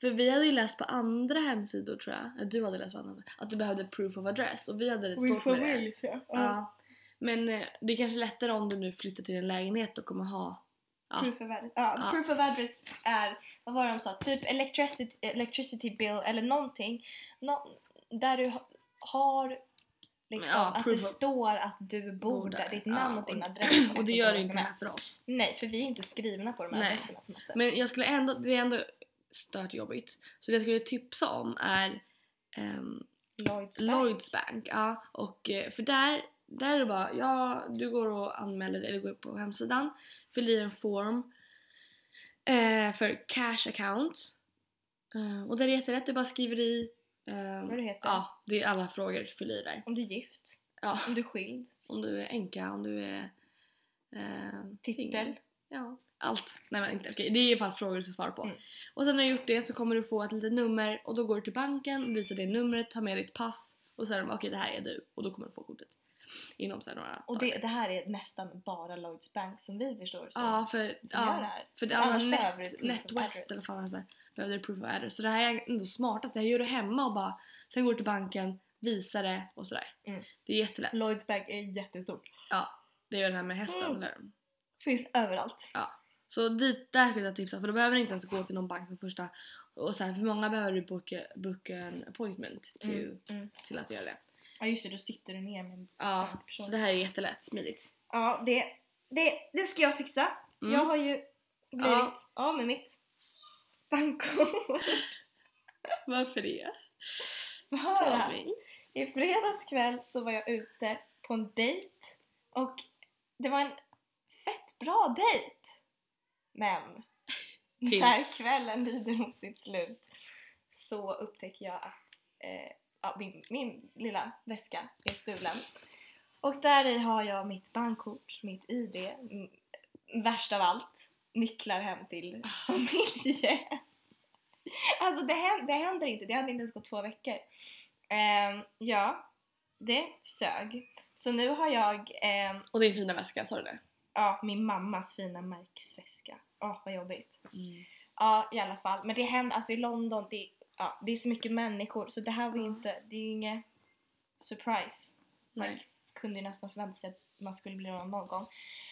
A: För vi hade ju läst på andra hemsidor tror jag, eller du hade läst på andra, att du behövde proof of address och vi hade lite svårt med det.
B: ja.
A: Ja. Men eh, det är kanske lättare om du nu flyttar till en lägenhet och kommer ha... Ja.
B: Proof of address. Ja,
A: Ja.
B: Proof of address är, vad var det de sa, typ electricity, electricity bill eller någonting. Nå, där du ha- har liksom
A: Ja,
B: att
A: proof
B: det
A: of-
B: står att du bor
A: Bor
B: där,
A: där,
B: ditt
A: ja,
B: namn och
A: och-
B: din adress.
A: Och det
B: ett
A: gör det ju
B: sådant
A: inte här
B: dokument.
A: för oss.
B: Nej, för vi är inte skrivna på de här
A: Nej.
B: adresserna på något sätt.
A: Men jag skulle ändå, det är ändå stört jobbigt. Så det jag skulle tipsa om är ehm,
B: Lloyds Bank.
A: Lloyds Bank. Ja, och eh, för där, där är det bara, ja du går och anmäler dig, eller går upp på hemsidan, fyller i en form eh, för cash account. Eh, och där är det jättelätt, du bara skriver i ehm,
B: Vad du heter.
A: Ja, det är alla frågor du fyller i där.
B: Om du är gift,
A: Ja,
B: om du är skild,
A: om du är änka, om du är... Eh,
B: titel.
A: singel. Ja, allt. Nej men inte, okej, det är i alla fall frågor du ska svara på.
B: Mm.
A: Och sen när du gjort det så kommer du få ett litet nummer och då går du till banken och visar det numret, tar med ditt pass och så är de okej det här är du och då kommer du få kortet. Inom så här några
B: Och
A: dagar.
B: det, det här är nästan bara Lloyds Bank som vi förstår så,
A: Ja, för,
B: som gör det
A: ja,
B: här.
A: för det
B: annars
A: annars
B: behöver du
A: net,
B: proof of
A: NetWest
B: address.
A: eller fan alltså, behöver du proof of address. Så det här är ändå smart att det här gör du hemma och bara sen går du till banken, visar det och sådär.
B: Mm.
A: Det är jättelätt.
B: Lloyds Bank är jättestort.
A: Det är ju det här med hästen.
B: Mm.
A: Eller?
B: Finns överallt.
A: Så dit, där skulle jag tipsa för då behöver ni inte ens gå till någon bank för första och så här, för många behöver du boka, boka en appointment to,
B: Mm, mm.
A: till att göra det.
B: Ja just det, då sitter du ner med en
A: Ja,
B: bankperson.
A: så det här är jättelätt, smidigt.
B: Ja, det, det, det ska jag fixa.
A: Mm.
B: Jag har ju blivit
A: Ja.
B: av med mitt bankkort.
A: Varför det?
B: Vad har jag här? I fredags kväll så var jag ute på en dejt och det var en fett bra dejt. Men
A: Tills.
B: när kvällen lider mot sitt slut så upptäcker jag att eh, ja, min, min lilla väska är stulen. Och där i har jag mitt bankkort, mitt ID, m- värst av allt, nycklar hem till familjen. Alltså det händer, det händer inte, det hade inte ens gått två veckor. Ehm, ja, det sög. Så nu har jag ehm,
A: Och din fina väska, sa du det?
B: ja, min mammas fina märksväska. Åh, vad jobbigt. Ja, i alla fall. Men det händer, alltså i London, det, ja, det är så mycket människor så det här var ju inte, det är ju inget surprise.
A: Nej.
B: Kunde ju nästan förvänta sig att man skulle bli någon någon gång.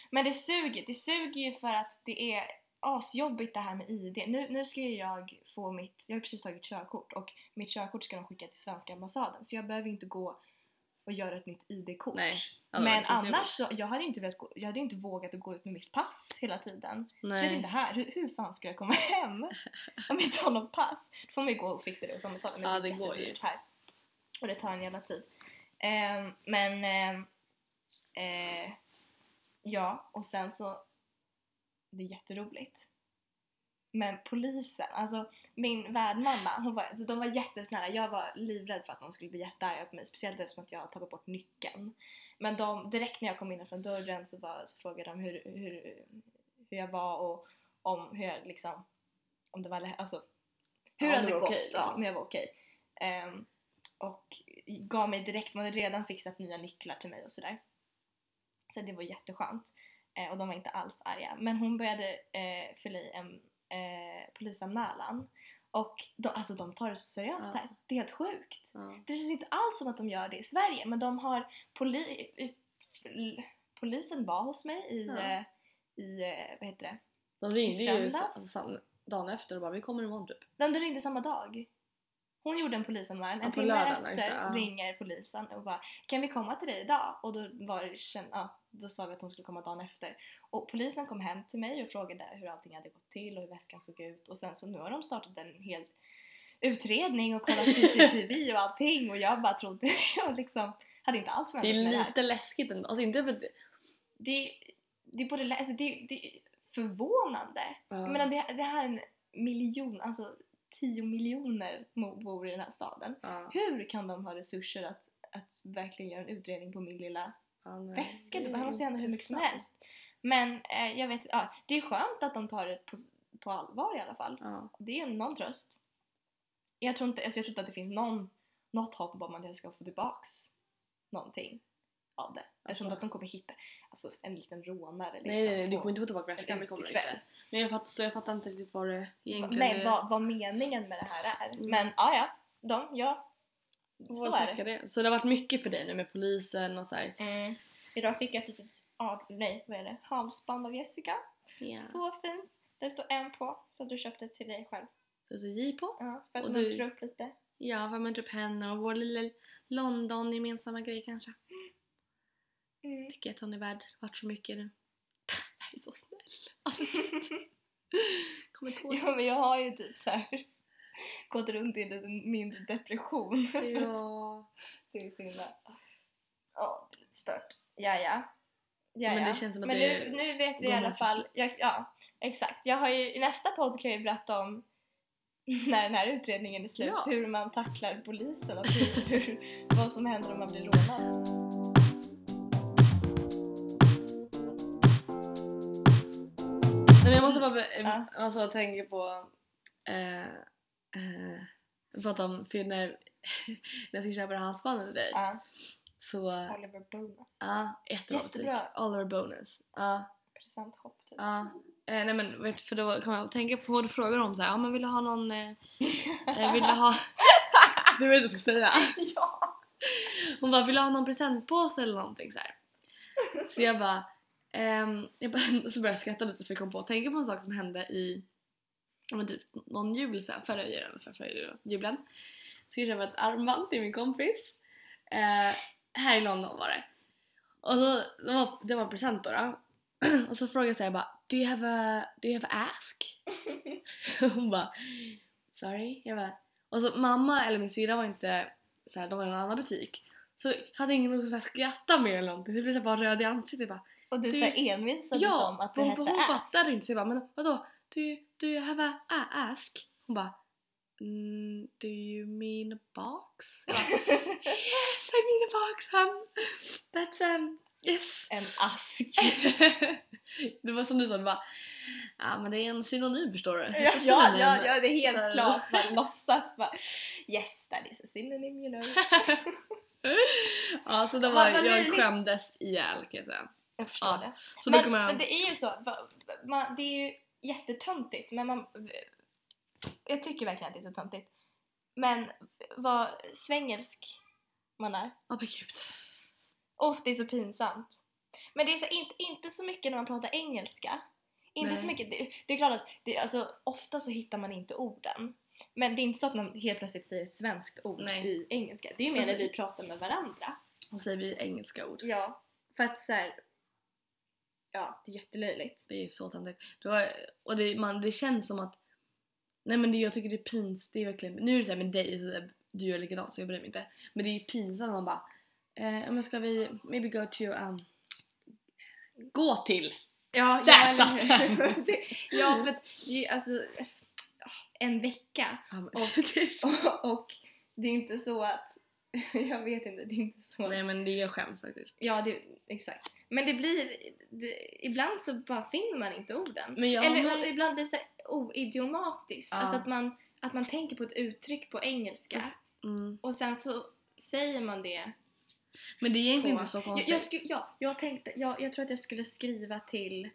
B: Men det suger, det suger ju för att det är asjobbigt det här med ID. Nu, nu ska ju jag få mitt, jag har ju precis tagit körkort och mitt körkort ska de skicka till svenska ambassaden så jag behöver ju inte gå och göra ett nytt ID-kort.
A: Nej, Ja, det var
B: Men
A: verkligen trevligt.
B: annars så, jag hade inte, velat gå, jag hade inte vågat att gå ut med mitt pass hela tiden. Så är det inte
A: Nej.
B: här, hur, hur fan ska jag komma hem om jag inte har något pass? Då får man ju gå och fixa det hos ambassalen men
A: Ja,
B: det
A: det
B: är
A: går ju.
B: jättedyrt här. Och det tar en jävla tid. Ehm, men ehm, eh, ja, och sen så det är jätteroligt. Men polisen, alltså min värdmamma, hon var, alltså de var jättesnälla. Jag var livrädd för att någon skulle bli jättearga på mig, speciellt eftersom att jag har tappat bort nyckeln. Men de, direkt när jag kom in från dörren så, var, så frågade de hur, hur, hur jag var och om hur jag liksom, om det var, lä- alltså hur
A: Ja, det
B: hade det
A: var
B: gått?
A: okej,
B: ja,
A: liksom.
B: men jag var okej. Ehm, och gav mig direkt, man hade redan fixat nya nycklar till mig och sådär. Så det var jätteskönt. Eh, och de var inte alls arga. Men hon började eh, fylla i en eh, polisanmälan. Och de, alltså de tar det så seriöst
A: Ja.
B: här. Det är helt sjukt.
A: Ja.
B: Det känns inte alls som att de gör det i Sverige men de har poli, i- polisen var hos mig i,
A: Ja.
B: eh, i eh, vad heter det?
A: De ringde ju
B: söndags?
A: sa- sam- dagen efter och bara vi kommer imorgon typ.
B: Den du ringde samma dag. Hon gjorde en polisanmälan. En
A: Ja, på
B: timme
A: lördagen,
B: efter
A: just det, ja.
B: ringer polisen och bara Kan vi komma till dig idag? Och då, var det, känn- ja, då sa vi att hon skulle komma dagen efter. Och polisen kom hem till mig och frågade hur allting hade gått till och hur väskan såg ut. Och sen så nu har de startat en hel utredning och kollat CCTV och allting. Och jag bara trodde, jag liksom hade inte alls
A: Det
B: förväntat mig
A: är
B: det här.
A: lite läskigt ändå. Alltså inte för att...
B: Det, det är både, lä- alltså det, det är förvånande. Jag menar
A: Ja.
B: det, det här är en miljon, alltså 10 miljoner mo- bor i den här staden.
A: Ja.
B: Hur kan de ha resurser att, att verkligen göra en utredning på min lilla
A: Ja, nej,
B: väska? Det
A: är
B: här måste ju hända hur mycket som helst. Men eh, jag vet, ja, det är skönt att de tar det på, på allvar i alla fall.
A: Ja.
B: Det är någon tröst. Jag tror inte, alltså jag tror inte att det finns någon, något hopp om att jag ska få tillbaks någonting av det. Jag
A: Alltså.
B: tror inte att de kommer hitta alltså, en liten rånare liksom.
A: Nej, nej, nej, du
B: på-
A: kommer inte få tillbaka väskan. Det kommer du
B: utekväll.
A: inte. Men jag fattar, så jag fattar inte riktigt vad det egentligen
B: Nej, vad, vad meningen med det här är.
A: Mm.
B: Men ja, ja. De, ja. Så är det.
A: det. Så det har varit mycket för dig nu med polisen och så här.
B: Mm. Idag fick jag ett litet av, nej, vad är det? halsband av Jessica.
A: Så,
B: Så fint. Det står en på, så du köpte till dig själv.
A: så J på.
B: Ja, för
A: Och
B: att
A: du-
B: muntra upp lite.
A: Ja, för man upp henne och vår lilla London gemensamma grej kanske.
B: Mm.
A: Tycker att hon är värd vart så mycket nu. Jag är så snäll. Alltså gud. Kommer tårar.
B: Ja, men jag har ju typ så här gått runt i en liten mindre depression.
A: Ja.
B: Det är så himla... Ja, det är lite stört. Ja, ja. ja,
A: Men
B: ja.
A: det känns som att
B: Men
A: det
B: nu, nu vet vi
A: går
B: i alla
A: mot
B: fall. Jag, ja, exakt. Jag har ju, I nästa podd kan jag ju berätta om när den här utredningen är slut,
A: Ja.
B: hur man tacklar polisen och hur, hur, vad som händer om man blir rånad.
A: Nej, men jag måste bara be-
B: Ja.
A: alltså, tänka på... Eh, eh, prata om, för när, när jag skulle köpa det här halsbandet till dig
B: Ja,
A: så... Ja,
B: Oliver Bonas
A: jättebra betyg.
B: Jättebra.
A: Oliver typ. Bonus. Ja,
B: presenthopp typ.
A: ja. Eh, nej men vet, för då kan jag tänka på vad du frågar om så här, ja men vill du ha någon... Eh, eh, vill du ha... Du vet vad jag ska säga.
B: Ja!
A: Hon bara, vill du ha någon presentpåse eller någonting så här. Så jag bara, ehm, jag bara så började jag skratta lite för jag kom på att tänka på en sak som hände i ja, men typ någon jul sen, förra julen, för förra julen, julen. Så jag köpte ett armband till min kompis. Eh, här i London var det. Och då, det var, det var en present då, då. Och så frågade jag så här, jag bara, do you have a, do you have a ask? Hon bara, sorry? Jag bara, och så mamma eller min syrra var inte så här, de var i en annan butik. Så hade ingen någon så här skratta med eller någonting. Så jag blev så här bara röd i ansiktet. Bara,
B: Och du,
A: Du-
B: så här envisades
A: ja,
B: om att
A: för
B: det
A: hon, för
B: hette
A: hon
B: ass.
A: fattade inte. Så jag bara, men vadå? Do you, do you have a, a ask? Hon bara, mm, do you mean a box? Jag bara, yes, I mean a box, hon. That's um, yes.
B: En ask.
A: det var som du sa, du bara, ja men det är en synonym förstår du. Alltså,
B: Ja,
A: Synonym.
B: ja, ja, ja, det är helt
A: Så här-
B: klart. Man låtsas bara yes that is a synonym you know.
A: ja, så det
B: Vad-
A: var, jag
B: vad löjligt.
A: skämdes ihjäl kan jag säga.
B: Jag förstår
A: Ja.
B: det.
A: Så då
B: men,
A: kommer jag...
B: men det är ju så, va- va- man, det är ju jättetöntigt men man... Jag tycker verkligen att det är så töntigt. Men vad svängelsk man är.
A: Åh men gud.
B: Åh, det är så pinsamt. Men det är så, inte, inte så mycket när man pratar engelska. Inte
A: Nej.
B: så mycket. Det, det är klart att det, alltså, ofta så hittar man inte orden. Men det är inte så att man helt plötsligt säger ett svenskt ord
A: Nej.
B: i engelska. Det är ju mer
A: Alltså-
B: när vi pratar med varandra.
A: Och säger vi engelska ord.
B: Ja, för att så här, ja, det är jättelöjligt.
A: Det är så töntigt. Det var- Och det, man, det känns som att... Nej men det, jag tycker det är pinsamt. Det är verkligen... Nu är det såhär med dig, så där, du gör likadant så jag bryr mig inte. Men det är ju pinsamt när man bara... Eh, ja, men ska vi maybe go to... Um, gå till!
B: Ja,
A: Där
B: ja,
A: satt
B: eller hur? Det- ja, för att det är ju, alltså ah, en vecka
A: Ja, men-
B: och, och det är inte så att jag vet inte, det är inte så att
A: Nej men det är skämt faktiskt.
B: Ja, det, exakt. Men det blir... Det, ibland så bara finner man inte orden.
A: Men jag
B: Eller
A: har-
B: och ibland blir det så här oidiomatiskt.
A: Ja.
B: Alltså att man, att man tänker på ett uttryck på engelska
A: Precis. Mm.
B: och sen så säger man det.
A: Men det är
B: På,
A: egentligen
B: jag,
A: inte så
B: jag,
A: konstigt.
B: sku- ja, jag, tänkte, jag, jag tror att jag skulle skriva till...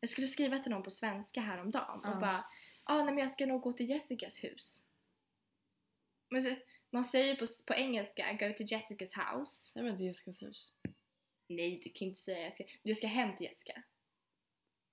B: Jag skulle skriva till någon på svenska häromdagen
A: Ja.
B: och bara ah, nej, men jag ska nog gå till Jessicas hus. Men så, man säger på, på engelska go to Jessicas house.
A: Nej men det är Jessicas hus.
B: Nej, du kan ju inte säga jag ska, du ska hem till Jessica.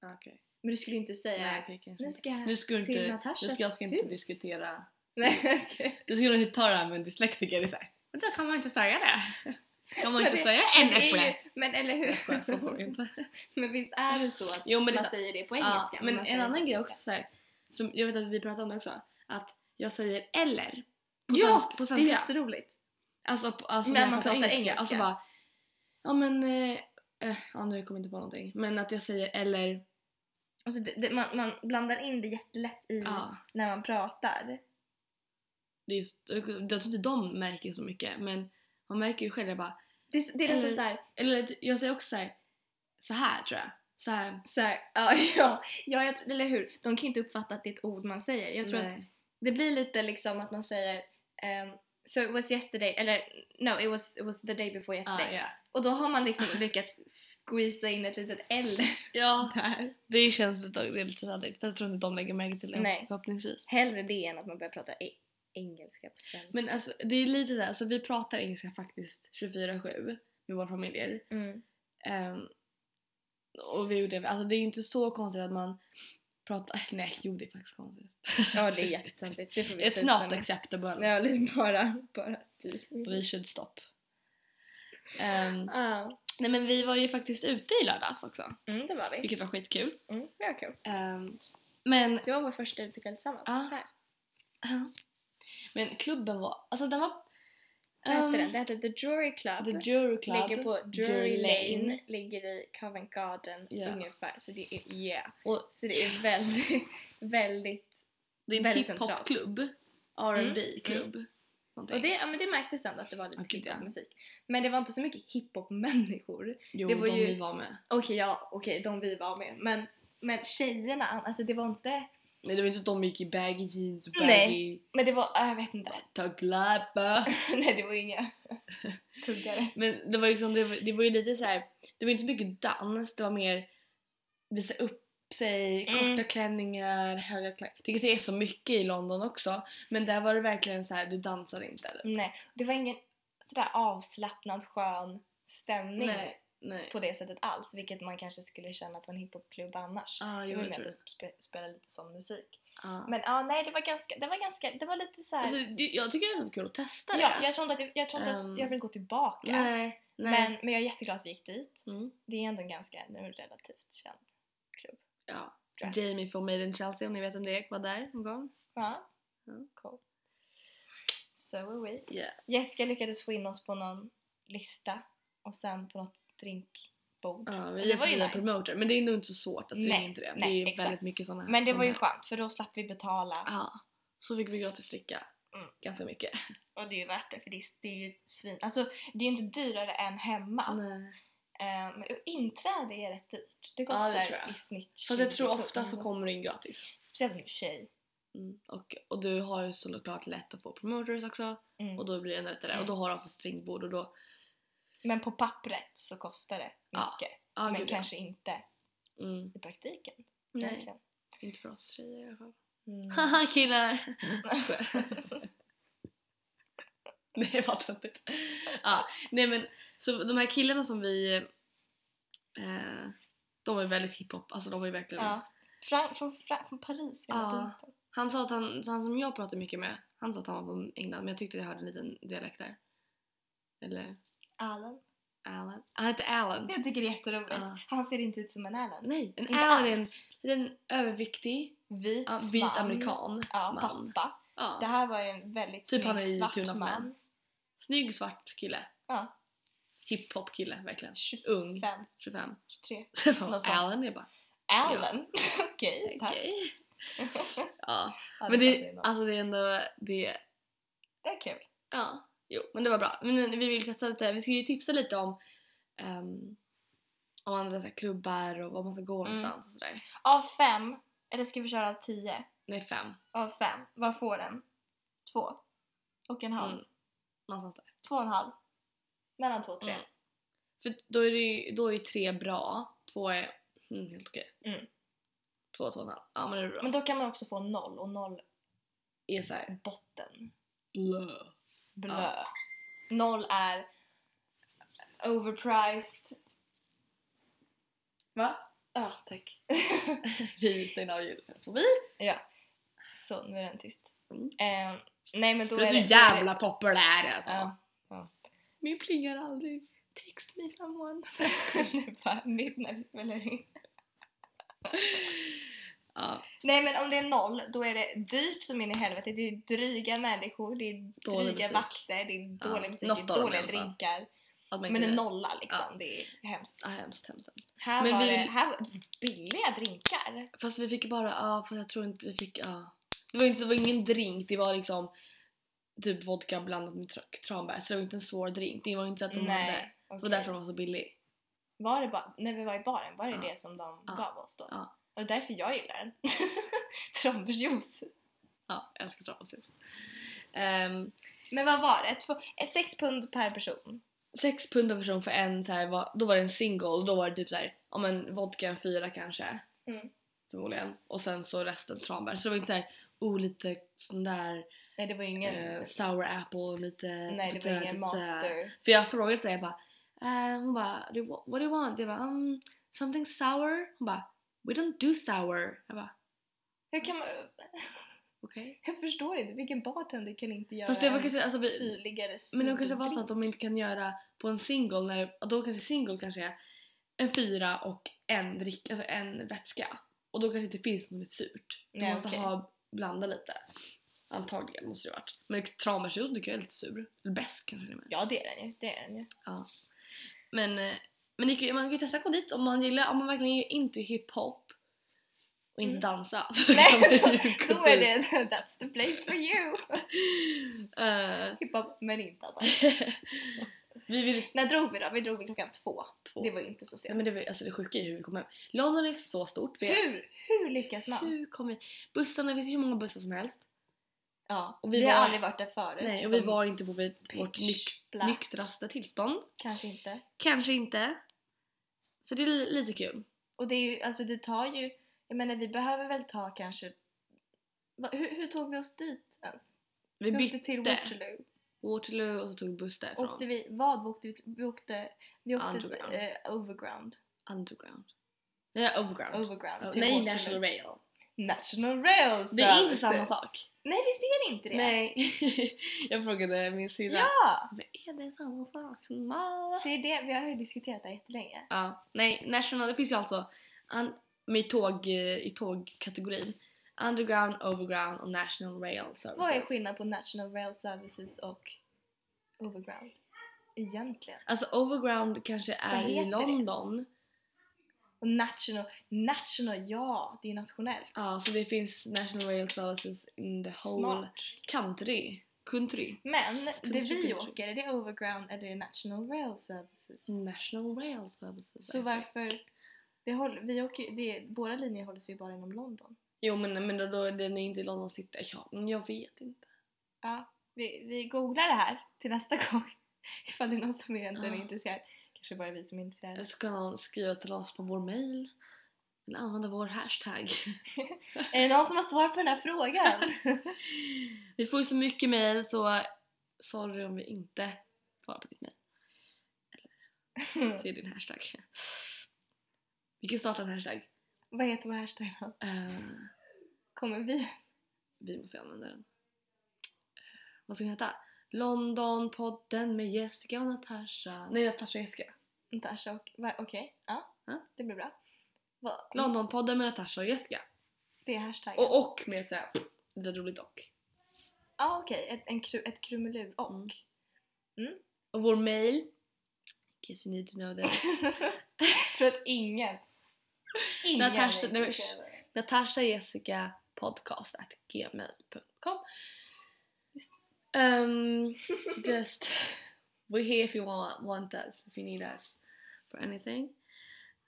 A: Ah, Okej.
B: Men du skulle ju inte säga
A: Nej okej kanske
B: nu
A: inte.
B: ska jag...
A: Nu ska du
B: till
A: inte... Nu
B: Natashas
A: ska jag ska inte
B: hus.
A: diskutera...
B: Nej, okej.
A: Du skulle inte ta det här med en dyslektiker. Det är såhär... Men då kan man inte säga det. Kan man
B: Men
A: inte
B: det-
A: säga en
B: Men det är
A: äpple?
B: ju- Men eller hur?
A: Jag skojar, så dålig är jag inte.
B: Men visst är det så att
A: Jo, men det är
B: man
A: så-
B: säger det på
A: Ja,
B: engelska?
A: men
B: man
A: en
B: säger det
A: annan
B: på
A: grej också så
B: svenska.
A: här, som jag vet att vi pratade om det också, att jag säger eller på,
B: Ja,
A: svenska, på
B: Det är
A: svenska.
B: jätteroligt.
A: Alltså, på, alltså
B: När
A: när, man
B: man
A: pratar
B: pratar
A: engelska.
B: engelska.
A: Alltså bara, ja men, eh, eh, ja nu kommer jag inte på någonting. Men att jag säger eller,
B: Alltså det, det, man, man blandar in det jättelätt i
A: ja.
B: när man pratar.
A: Det är, jag tror inte de märker så mycket men man märker ju själv. Jag bara,
B: Det, det är nästan
A: Eller-
B: så här,
A: eller jag säger också så här, så här tror jag. Så här,
B: så här ja, ja, ja jag, tror- eller hur? De kan ju inte uppfatta att det är ett ord man säger. Jag tror att
A: nej.
B: det blir lite liksom att man säger ehm, So it was yesterday, eller no it was, it was the day before yesterday.
A: Ah, ja, ja.
B: Och då har man liksom lyckats squeeza in ett litet L
A: ja,
B: där.
A: det känns lite, det är lite töntigt. För jag tror inte de lägger märke till det
B: Nej.
A: förhoppningsvis.
B: Hellre det än att man börjar prata e- engelska på svenska.
A: Men alltså det är lite där, alltså vi pratar engelska faktiskt 24-7 med våra familjer.
B: mm.
A: Ehm, och vi gjorde det, alltså det är ju inte så konstigt att man pratar, nej jo det är faktiskt konstigt.
B: Ja det är jättetöntigt. Det får vi
A: It's
B: sluta
A: not
B: med.
A: acceptable.
B: Ja, lite bara, bara typ.
A: We should stop. Ehm,
B: Ja.
A: nej men vi var ju faktiskt ute i lördags också,
B: Mm, det var vi.
A: vilket var skitkul.
B: Mm, det var kul.
A: Ehm, men,
B: Det var vår första utekväll tillsammans.
A: Ja.
B: Här.
A: men klubben var, alltså den var...
B: Vad hette
A: ehm,
B: den? Det hette The Drury Club.
A: The Jury Club.
B: Ligger på Drury,
A: Drury
B: Lane.
A: Lane.
B: Ligger i Covent Garden
A: Ja.
B: ungefär. Så det är, yeah.
A: och
B: Så det är väldigt, väldigt
A: det är en Mm.
B: väldigt centralt.
A: hiphopklubb, R&B klubb någonting.
B: Och det, ja, men det märktes ändå att det var lite
A: Ja, gud, ja.
B: hiphopmusik. Men det var inte så mycket hiphop-människor.
A: Jo,
B: det var
A: de
B: ju-
A: vi var med.
B: Okej, ja, okej, de vi var med. Men, men tjejerna, alltså det var inte...
A: Nej det var inte så att de gick i baggy jeans, baggy...
B: Nej. Men det var, ah, jag vet inte.
A: Taglappa.
B: Nej, det var inga tuggare.
A: Men det var, liksom, det, var, det var ju lite så här. det var inte så mycket dans, det var mer visa upp sig, korta
B: Mm.
A: klänningar, höga klänningar. Det kanske är så mycket i London också, men där var det verkligen så här: du dansar inte. Eller?
B: Nej, det var ingen sådär avslappnad, skön stämning
A: Nej. Nej.
B: på det sättet alls. Vilket man kanske skulle känna på en hiphopklubb annars.
A: Ah,
B: det
A: jo,
B: var ju
A: jag tror
B: mer
A: det.
B: att spe, spela lite sån musik.
A: Ah.
B: Men ja, nej, det var ganska, det var ganska, det var lite såhär...
A: Alltså, det- jag tycker det är kul att testa det.
B: ja, jag tror inte att, jag, tror inte
A: Ehm,
B: att jag vill gå tillbaka.
A: Nej. nej.
B: Men, men jag är jätteglad att vi gick dit.
A: Mm.
B: Det är ändå en ganska det är en relativt känd klubb.
A: Ja.
B: Tror
A: Jamie från Made in Chelsea, om ni vet om det är, var där någon gång.
B: Ja.
A: Mm.
B: Cool. So are we.
A: Yeah.
B: Jessica lyckades få in oss på någon lista och sen på något drinkbord.
A: Ja, vi
B: det
A: är
B: var ju
A: fina
B: nice.
A: promoter, men det är nog inte så svårt. Alltså, det är
B: Nej,
A: ju inte det.
B: nej,
A: det är ju
B: exakt.
A: väldigt mycket sådana
B: Men det var ju
A: såna
B: skönt för då slapp vi betala
A: Ja, så fick vi gratis dricka.
B: Mm.
A: Ganska mycket.
B: och det är ju värt det för det är, det är ju svin... Alltså det är ju inte dyrare än hemma.
A: Nej.
B: Eh, men inträde är rätt dyrt. Det
A: Mm. Ja, det
B: kostar
A: tror jag.
B: i snitt 20
A: Fast jag tror ofta
B: kronor.
A: så kommer det in gratis.
B: Speciellt om du är tjej.
A: Mm. Och, och du har ju såklart lätt att få promoters också
B: Mm.
A: och då blir det ännu lättare. Och då har du också stringbord och då...
B: Men på pappret så kostar det
A: Ja,
B: mycket.
A: Ah,
B: men
A: gud, ja.
B: kanske inte
A: Mm.
B: i praktiken.
A: Nej,
B: egentligen.
A: inte för oss tjejer i alla fall.
B: Mm.
A: Haha killar! Nej jag fattar inte. Ja, nej men så de här killarna som vi... Eh, de var ju väldigt hiphop, alltså de var ju verkligen...
B: Ja. Från, från, Fra- från Paris hela
A: Ja.
B: tiden.
A: Han sa att han, han som jag pratade mycket med, han sa att han var från England men jag tyckte jag hörde en liten dialekt där. Eller?
B: Alan.
A: Alan. Han heter Alan.
B: Jag tycker det är jätteroligt.
A: Ja.
B: Han ser inte ut som en Alan.
A: Nej, en
B: Inte
A: Alan är en
B: alls.
A: liten överviktig
B: Vit,
A: ja, vit
B: man.
A: amerikan.
B: Ja,
A: man.
B: pappa.
A: Ja.
B: Det här var ju en väldigt
A: Typ
B: snygg
A: han är i
B: svart
A: Tune of
B: man.
A: Man. Snygg svart kille.
B: Ja.
A: Hiphop kille verkligen.
B: 25,
A: Ung. 25.
B: 23. Typ Något sånt.
A: Alan är bara
B: Alan? Okej, tack.
A: okej. ja.
B: Ja,
A: Men
B: fattar
A: det,
B: jag nog.
A: alltså det är ändå, det,
B: det är kul.
A: ja. Jo men det var bra. Men nu- vi vill testa lite, vi ska ju tipsa lite om ehm, om andra så här, klubbar och var man ska gå
B: Mm.
A: någonstans och sådär.
B: Av fem, eller ska vi köra av tio?
A: Nej fem.
B: Av fem, vad får den? Två. Och en halv.
A: Mm. Någonstans där.
B: Två och en halv. Mellan två och tre.
A: Mm. För då är det ju, då är ju tre bra, två är mm, helt okej.
B: Mm.
A: Två och två och en halv. Ja men det är bra.
B: Men då kan man också få noll och noll
A: är såhär
B: botten.
A: blö.
B: Blö. Noll är overpriced.
A: Va?
B: Ja, tack.
A: Vi vill stänga av ljudet så vi.
B: ja. Så, nu är den tyst.
A: Mm.
B: Eh, nej men då
A: Du är
B: är det...
A: så jävla populär alltså.
B: Ja.
A: Min plingar aldrig. Text me someone.
B: nu bara mitt när vi spelar in.
A: Ja,
B: Nej men om det är noll, då är det dyrt som in i helvete. Det är dryga människor, det är
A: Dålig
B: dryga
A: musik.
B: vakter, det är
A: Ja,
B: dålig musik,
A: något
B: det är
A: av dem i
B: dåliga
A: alla fall.
B: drinkar.
A: att man
B: Men en
A: inte-
B: nolla liksom, det är hemskt.
A: Ja, hemskt, hemskt. hemskt.
B: Här
A: Men
B: var
A: vi
B: det
A: vill-
B: här var billiga drinkar.
A: Fast vi fick bara, ja fast jag tror inte vi fick, ja. Det var, inte, det var ingen drink, det var liksom typ vodka blandat med tra- tranbär. Så det var inte en svår drink. Det var inte så att de hade.
B: Nej,
A: Det var
B: okej.
A: därför de var så billig.
B: Var det bara, när vi var i baren, var det
A: Ja.
B: det som de
A: Ja.
B: gav oss då?
A: Ja.
B: Och därför jag gillar den. Trombersjuice.
A: Ja, jag älskar tranbärsjuice. Ehm,
B: Men vad var det? Två, eh, sex pund per person.
A: sex pund per person för en så här, var, då var det en single, då var det typ så här, om en vodka en fyra kanske.
B: Mm.
A: Förmodligen. Och sen så resten tranbär. Så det var inte så här, oh lite sån där
B: Nej det var ju ingen...
A: eh, sour apple och lite...
B: nej det
A: lite-
B: var ingen
A: lite-
B: master.
A: För jag frågade så här, jag bara, eh, hon bara, "Do you wa- what do you want? Jag bara, um, something sour? Hon bara, we don't do sour. Jag bara,
B: Hur kan man...
A: okej.
B: Jag förstår inte, vilken bartender kan inte göra
A: Fast det var
B: en
A: kanske, alltså, vi,
B: syrligare
A: men det kanske var
B: surdrink?
A: så att de inte kan göra på en single, när, och då kanske single kanske är en fyra och en drick, alltså en vätska. Och då kanske det inte finns något surt. Du
B: Nej,
A: måste
B: okej.
A: ha, blanda lite. Antagligen måste det varit. Men tranbärsjuice tycker jag är lite sur. Eller besk kanske det är.
B: Ja det är den ju, det är den ju.
A: Men, eh, men det, kan ju- man kan ju testa att gå dit om man gillar, om man verkligen är inte hiphop och inte
B: Mm.
A: dansa så
B: Nej,
A: kan man ju gå
B: Då är
A: dit.
B: det that's the place for you!
A: Eh,
B: Hiphop men inte annat.
A: vi vill
B: När drog vi då? Vi drog vid klockan två.
A: två.
B: Det var ju inte så
A: Nej,
B: sent.
A: men det, var, alltså, det sjuka är hur vi kom hem. London är så stort. Vi,
B: hur, hur lyckas man?
A: hur kom vi? Bussarna, det finns ju hur många bussar som helst.
B: Ja,
A: Och
B: vi,
A: vi
B: har
A: var-
B: aldrig varit där förut.
A: Nej, och vi
B: Som
A: var inte på vårt,
B: pitch
A: vårt nyk,
B: black.
A: nyktraste tillstånd.
B: Kanske inte.
A: Kanske inte. Så det är li- lite kul.
B: Och det är ju, alltså det tar ju, jag menar vi behöver väl ta kanske, va, hur, hur tog vi oss dit ens?
A: Vi
B: åkte
A: bytte
B: till Waterloo.
A: Waterloo och så tog vi buss därifrån.
B: Åkte vi, vad åkte vi till? Vi åkte, vi åkte
A: Underground.
B: eh, overground.
A: Underground. Nej, overground.
B: Overground.
A: Oh,
B: till
A: Nej,
B: Waterloo.
A: National Rail.
B: National Rail
A: Det är inte
B: Services.
A: samma sak.
B: Nej visst är det inte det?
A: Nej. jag frågade min syrra.
B: Ja!
A: Men Är det samma sak? Nej.
B: Det är det, vi har ju diskuterat det här jättelänge.
A: Ja, nej, National, det finns ju alltså an, med tåg, eh, i tågkategorin. Underground, Overground och National Rail Services.
B: Vad är skillnaden på National Rail Services och overground? Egentligen.
A: Alltså Overground kanske är i
B: heter det?
A: London.
B: Och national, national, ja det är ju nationellt.
A: Ja, så det finns National Rail Services in the whole
B: Smart.
A: country. Country.
B: Men det vi
A: country.
B: åker, är det overground eller är det national rail services?
A: Mm. National Rail Services. I
B: Så
A: think.
B: varför... Det håller, vi åker, det, våra linjer håller sig ju bara inom London.
A: Jo men, men då, då den är inte i London City. Ja, men jag vet inte.
B: Ja, vi, vi googlar det här till nästa gång. Ifall det är någon som egentligen är
A: Ja.
B: intresserad. Kanske bara vi som är intresserade.
A: Så kan någon skriva till oss på vår mail. Eller använda vår hashtag.
B: Är det någon som har svar på den här frågan?
A: vi får ju så mycket mail så sorry om vi inte svarar på ditt mail. Se din hashtag. Vi kan starta en hashtag.
B: Vad heter vår hashtag då?
A: Eh,
B: Kommer vi...
A: vi måste ju använda den. Eh, Vad ska den heta? Londonpodden med Jessica och Natasha. Nej, Natasha och Jessica.
B: Natasha och... va- Okej, ja.
A: Ja.
B: Det blir bra. Va-
A: Londonpodden med Natasha och Jessica.
B: Det är hashtaggen.
A: Och och med såhär, det är roligt och.
B: Ja okej, ett, en kru, ett krumelur och.
A: Mm. Och vår mail. In case you need to know this.
B: tror att ingen... Ingen
A: Natasha-
B: är
A: nej, men-
B: intresserad av det.
A: Natasha Jessica podcast at gmail.com
B: Just
A: um, so just we're here if you want, want us, if you need us for anything.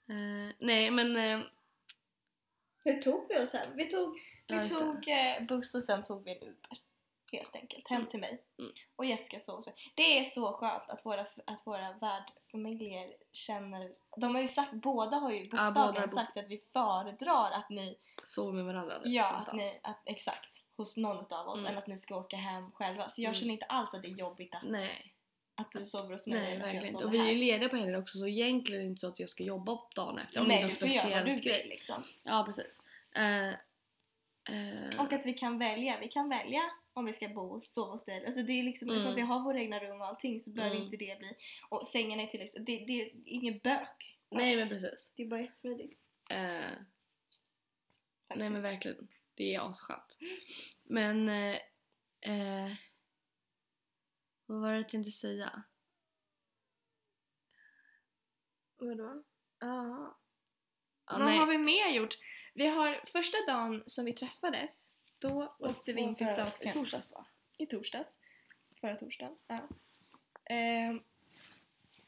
A: Eh, nej men eh,
B: Hur tog vi oss hem? Vi tog, vi
A: ja, just det.
B: tog eh, buss och sen tog vi en Uber. Helt enkelt. Hem
A: Mm.
B: till mig.
A: Mm.
B: Och Jessica sov. Det är så skönt att våra, att våra värdfamiljer känner... De har ju sagt, båda har ju bokstavligen
A: båda bo-
B: sagt att vi föredrar att ni...
A: sov med varandra där
B: Ja, att
A: någonstans.
B: ni att, exakt. Hos någon av oss.
A: Mm.
B: Än att ni ska åka hem själva. Så jag
A: Mm.
B: känner inte alls att det är jobbigt att,
A: Nej,
B: att du sover hos mig.
A: nej
B: eller att jag
A: verkligen inte.
B: sover
A: Och vi är
B: här.
A: ju lediga på helger också så egentligen är det inte så att jag ska jobba på dagen efter om det är
B: Nej,
A: någon
B: du får göra vad du
A: liksom speciell
B: vill
A: grej.
B: liksom.
A: Ja precis. Eh, eh,
B: Och att vi kan välja. Vi kan välja om vi ska bo och sova hos dig. Alltså det är liksom,
A: Mm.
B: eftersom att vi har våra egna rum och allting så behöver
A: Mm.
B: inte det bli... Och sängarna är tillräckligt... Det, det är inget bök.
A: nej
B: alls.
A: men precis.
B: Det är bara jättesmidigt.
A: Eh,
B: faktiskt.
A: Nej men verkligen. Det är asskönt. Men... Eh, eh, vad var det jag tänkte säga?
B: Vadå? Ah.
A: Ja,
B: Vad
A: nej.
B: har vi mer gjort? Vi har första dagen som vi träffades, då åkte vi in till
A: Förra-
B: South Kent.
A: torsdags va?
B: I torsdags. Förra torsdagen. Ja. Ehm,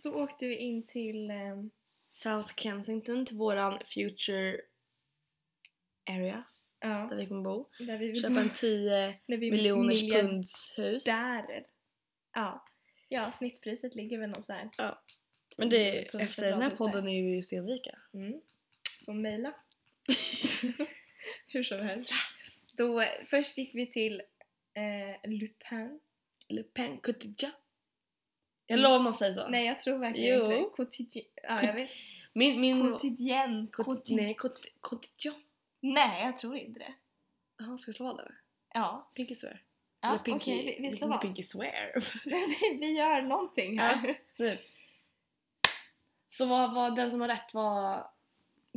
B: då åkte vi in till... ehm,
A: South Kensington till våran future area
B: ja,
A: där vi kommer bo.
B: där vi vill
A: Köpa en 10
B: när vi är
A: miljoners
B: miljardärer.
A: punds hus.
B: Ja. ja, snittpriset ligger väl någonstans här.
A: Men det,
B: Punkt
A: efter den här
B: kvadrathuset.
A: podden är vi ju stenrika.
B: Mm. Så mejla. Hur som helst. Då, eh, först gick vi till eh, Lupin.
A: Eller Pen Kutija. Jag lovar man säger så.
B: Mm. Nej, jag tror verkligen
A: Jo.
B: inte. Quotidien. Ja, jag vet.
A: Min... min
B: Quotidien.
A: Kut,
B: Quotidien.
A: nej, Kut- Kutija.
B: Nej, jag tror inte det.
A: Jaha, ska vi slå vad där?
B: Ja,
A: Pinky swear.
B: ja
A: Eller
B: okej,
A: pinky-
B: vi, vi slår
A: inte
B: vad.
A: Pinky swear.
B: vi, vi gör någonting här.
A: nu. Så vad var den som har rätt var...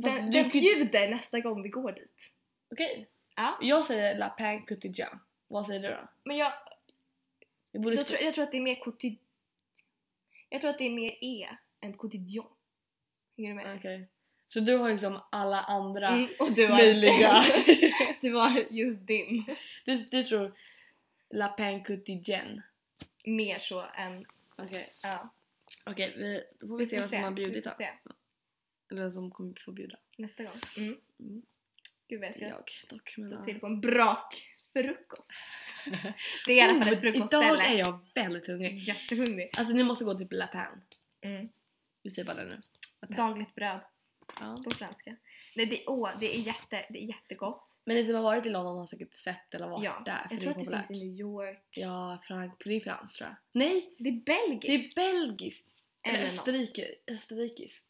A: Fast
B: Den,
A: du
B: den
A: kan-
B: bjuder nästa gång vi går dit.
A: Okej.
B: Ja.
A: Jag säger La Pan Kutija. Vad säger du då?
B: Men jag,
A: Vi borde
B: jag,
A: stå-
B: tror, jag tror att det är mer quotid... Jag tror att det är mer E än quotidien. Hänger du med?
A: Okej. Så du har liksom alla andra
B: Mm, och du har,
A: möjliga...
B: du har just din.
A: du, du tror La Pan Kutijen.
B: Mer så än...
A: Okej.
B: Ja.
A: Okej, vi, då får vi, se
B: får
A: vad som har
B: Vi
A: bjudit
B: får
A: då.
B: se
A: Eller vem som kommer få bjuda.
B: nästa gång. Mm.
A: Mm.
B: Gud vad jag ska
A: Jag dock. Men,
B: stå
A: ja.
B: till på en brak frukost. det är i alla fall ett
A: Oh, Idag är
B: frukostställe.
A: jag väldigt hungrig.
B: Jättehungrig.
A: Alltså ni måste gå till La Pan.
B: Mm.
A: Vi säger bara det nu.
B: Dagligt bröd
A: Ja.
B: på franska. Nej, det, åh, det, är jätte, det är jättegott.
A: Men ni som har varit i London har säkert sett eller varit
B: Ja,
A: där. För
B: jag
A: det
B: tror
A: är
B: att det
A: populärt.
B: finns i New York.
A: Ja, Frank, det är franskt tror jag. Nej,
B: Det är belgiskt.
A: det är belgiskt. Eller
B: något.
A: Österrike, österrikiskt.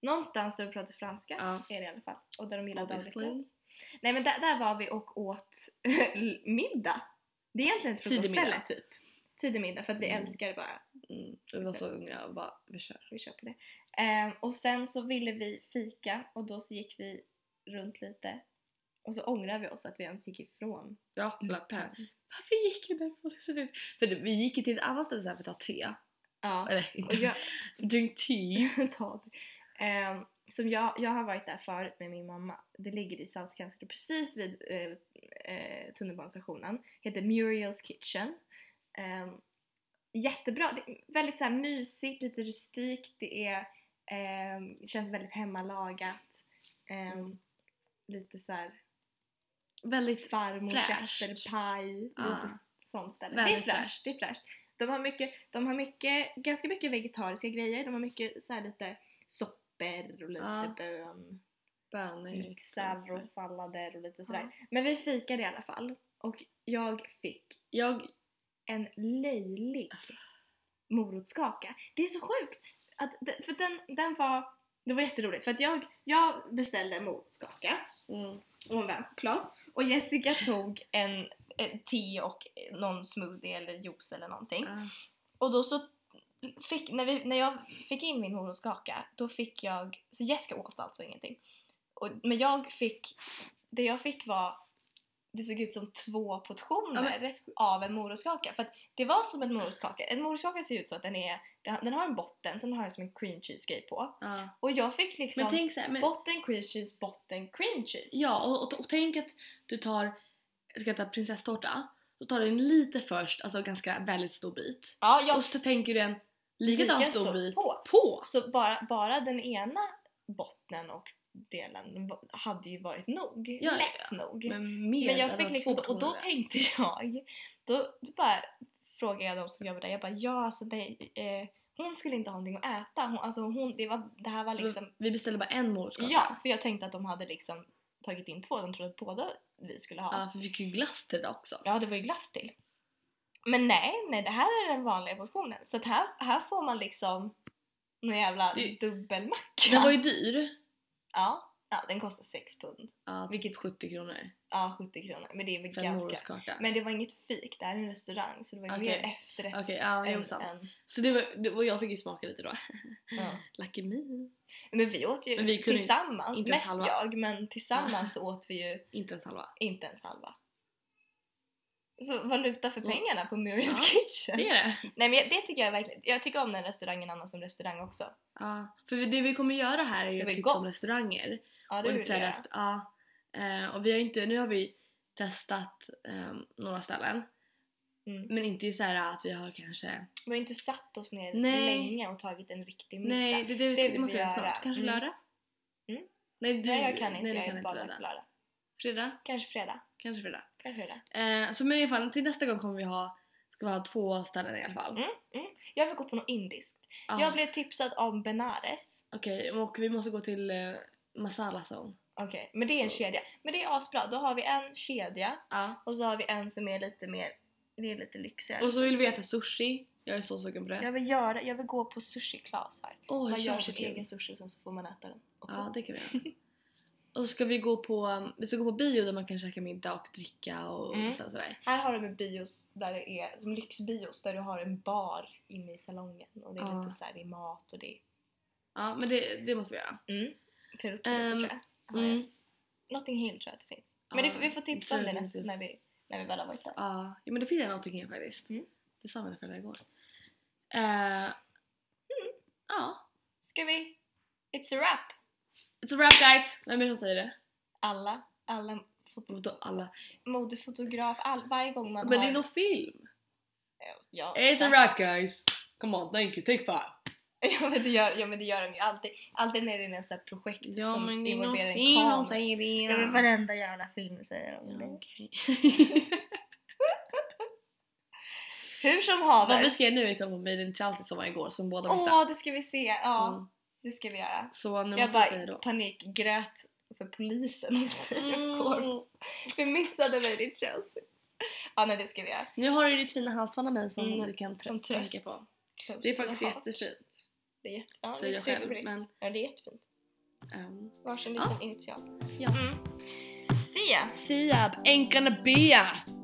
B: Någonstans där vi pratar franska
A: Ja.
B: är det i alla fall. Och där de gillar dagligt
A: Obviously.
B: bröd. Nej men där, där var vi och åt middag. Det är egentligen
A: Tidig
B: ett frukostställe
A: middag.
B: typ. Tidig middag för att vi
A: Mm.
B: älskar bara,
A: Mm, vi var så hungriga och bara, vi kör.
B: vi kör på det. Ehm, och sen så ville vi fika och då så gick vi runt lite. Och så ångrar vi oss att vi ens gick ifrån.
A: Ja, La Pen. Varför gick vi därifrån så sent? För det- vi gick ju till ett annat ställe så här för att ta te.
B: Ja.
A: Eller
B: Och
A: inte,
B: jag,
A: drink tea.
B: ta det. Ehm, som jag, jag har varit där förut med min mamma. Det ligger i South Kensington precis vid eh, eh, tunnelbanestationen. Heter Muriel's Kitchen. Ehm, jättebra. Det är väldigt så här mysigt, lite rustikt. Det är, ehm, känns väldigt hemmalagat. Ehm,
A: Mm.
B: Lite så här
A: Väldigt
B: farmor
A: Fräscht.
B: köper paj.
A: Ah.
B: Lite s- sånt ställe.
A: Väldigt
B: det är fräscht.
A: fräscht.
B: Det är fräscht. De har mycket, de har mycket, ganska mycket vegetariska grejer. De har mycket så här lite soppor och lite
A: Ja.
B: bön,
A: bönor.
B: mixar och sallader och lite sådär.
A: Ja.
B: Men vi fikade i alla fall och jag fick
A: Jag,
B: en löjlig
A: Alltså.
B: morotskaka. Det är så sjukt! Att, det- för den, den var, det var jätteroligt för att jag, jag beställde morotskaka
A: mm,
B: och en varm choklad. Och Jessica tog en eh, te och någon smoothie eller juice eller någonting.
A: Ah.
B: Och då så fick, när, vi, när jag fick in min morotskaka, då fick jag, så Jessica åt alltså ingenting. Och, men jag fick, det jag fick var, det såg ut som två portioner av en morotskaka. För att det var som en morotskaka. En morotskaka ser ut så att den är, den den har en botten, sen har den som en cream cheese grej på.
A: Ja.
B: Och jag fick liksom
A: ah. Men tänk så här, men,
B: botten cream cheese, botten cream cheese.
A: Ja, och, och, och tänk att du tar, du ska ta prinsesstårta, så tar du en lite först, alltså ganska väldigt stor bit.
B: ja jag
A: Och så tänker du en likadan
B: Lika
A: stor
B: stor
A: bit
B: på.
A: på.
B: Så bara, bara den ena botten och delen va- hade ju varit nog.
A: Ja, ja,
B: lätt nog. Mm. Men,
A: Men mer,
B: jag
A: alltså
B: fick
A: två
B: liksom, och då
A: portioner.
B: tänkte jag, då då bara frågade jag de som jobbade där, jag bara ja alltså nej, eh, hon skulle inte ha någonting att äta. Hon, alltså hon, det, var, det här var
A: Så
B: liksom,
A: Vi beställde bara en morotskaka.
B: ja för jag tänkte att de hade liksom tagit in två, de trodde att båda vi skulle ha.
A: Ja, för vi fick ju glass till det också.
B: Ja, det var ju glass till. Men nej, nej det här är den vanliga portionen. Så att här, här får man liksom någon jävla
A: Det-
B: dubbelmacka.
A: Den var ju dyr.
B: Ja, ja den kostar 6 pund.
A: Ja, vilket 70 kronor
B: Ja, 70 kronor. Men det är väl
A: för en
B: ganska...
A: morotskaka.
B: Men det var inget fik, det här är en restaurang så det var ju
A: Okej.
B: mer efterrätt
A: Okej, ja, jo
B: än...
A: sant.
B: än
A: Så det var, det, och jag fick ju smaka lite då.
B: ja.
A: Lucky me.
B: Men vi åt ju
A: Men vi kunde
B: tillsammans,
A: inte ens
B: mest
A: halva.
B: jag, men tillsammans så åt vi ju
A: Inte ens halva.
B: inte ens halva. Så valuta för
A: Ja.
B: pengarna på Muriel's
A: Ja.
B: Kitchen.
A: Det är det.
B: Nej men jag- det tycker jag verkligen, jag tycker om den restaurangen annars som restaurang också.
A: Ja, för det vi kommer göra här är ju
B: Det var
A: typ
B: gott.
A: som restauranger.
B: Ja det
A: och
B: vill
A: lite
B: jag
A: såhär,
B: göra.
A: resp- ja. Eh, och vi har ju inte, nu har vi testat ehm, några ställen.
B: Mm.
A: Men inte i såhär att vi har kanske...
B: Vi har inte satt oss ner
A: Nej.
B: länge och tagit en riktig middag.
A: Nej, det, är det, vi,
B: Det
A: ska-
B: vill
A: det måste vi
B: vi
A: göra
B: göra.
A: snart. Kanske
B: Mm.
A: lördag?
B: Mm.
A: Nej, du,
B: Nej jag kan inte,
A: du
B: jag är bara
A: lördag.
B: lördag.
A: Fredag?
B: Kanske fredag,
A: Kanske fredag.
B: kanske fredag.
A: Eh, så men i alla fall, till nästa gång kommer vi ha, ska vi ha två ställen i alla fall.
B: Mm. Jag vill gå på något indiskt.
A: Ja,
B: Jag blev tipsad om Benares.
A: Okej, och vi måste gå till eh, Masala Zone.
B: Okej, men det är en
A: Så.
B: kedja. Men det är asbra, då har vi en kedja
A: Ja.
B: och så har vi en som är lite mer, det är lite lyxigare.
A: Och så vill vi äta sushi. Jag är så sugen på det.
B: Jag vill göra, jag vill gå på sushi class här.
A: Åh,
B: Man
A: så
B: gör
A: så
B: sin
A: kul.
B: egen sushi och sen så får man äta den. Och
A: Ja, det kan vi göra. Och så ska vi gå på, um, vi ska gå på bio där man kan käka middag och dricka och
B: Mm.
A: och sådär.
B: Här har de en bios där det är som lyxbios där du har en bar inne i salongen och det är
A: Ja.
B: lite såhär, det är mat och det
A: Ja, men det, det måste vi göra.
B: är... Mm. Klär upp sig lite,
A: Ehm,
B: tror jag. Har jag.
A: Mm.
B: Notting Hill tror jag att det finns.
A: Ja,
B: Men det, får- vi får tipsa
A: så
B: om det
A: det
B: nästa,
A: finns ju-
B: när, vi, när vi väl har varit där.
A: Ja, ja, men det finns någonting här faktiskt.
B: Mm.
A: Det sa mina föräldrar igår. Eh, Ja,
B: Ska vi? It's a wrap!
A: it's a wrap guys! Vem är det som säger det?
B: Alla, alla foto,
A: Och då alla.
B: modefotograf, all, varje gång man
A: Men det
B: har...
A: är någon film!
B: ja,
A: It's a
B: exakt.
A: wrap guys! Come on, thank you, take five!
B: ja, men det gör, ja men det gör de ju alltid. Alltid när det är något sånt här projekt
A: Ja
B: som
A: men det är någon
B: involverar en
A: film som
B: kamera.
A: säger
B: Ja men
A: det.
B: varenda jävla film säger de
A: Ja,
B: det.
A: okej.
B: Hur som
A: Vad vi
B: haver.
A: ska göra nu är att kolla på Made in Chelsea som var igår som båda
B: Åh
A: missade.
B: det ska vi se! Ja
A: Mm.
B: det ska vi göra.
A: Så nu
B: Jag
A: måste jag säga
B: bara
A: då.
B: panikgrät för polisen och så igår.
A: Mm.
B: Vi missade mig i Chelsea. Ja nej det ska vi göra.
A: Nu har du ditt fina halsband av mig som
B: Mm,
A: du kan t-
B: som tröst.
A: tänka på.
B: Close
A: Det är
B: to the
A: faktiskt
B: heart.
A: jättefint,
B: Det är jätte... ja, det är
A: säger jag själv.
B: superfint.
A: Men,
B: Ja det är jättefint.
A: um,
B: Varsin
A: Ja.
B: liten initial.
A: Ja.
B: Mm. Ses!
A: Siab ain't gonna be ya!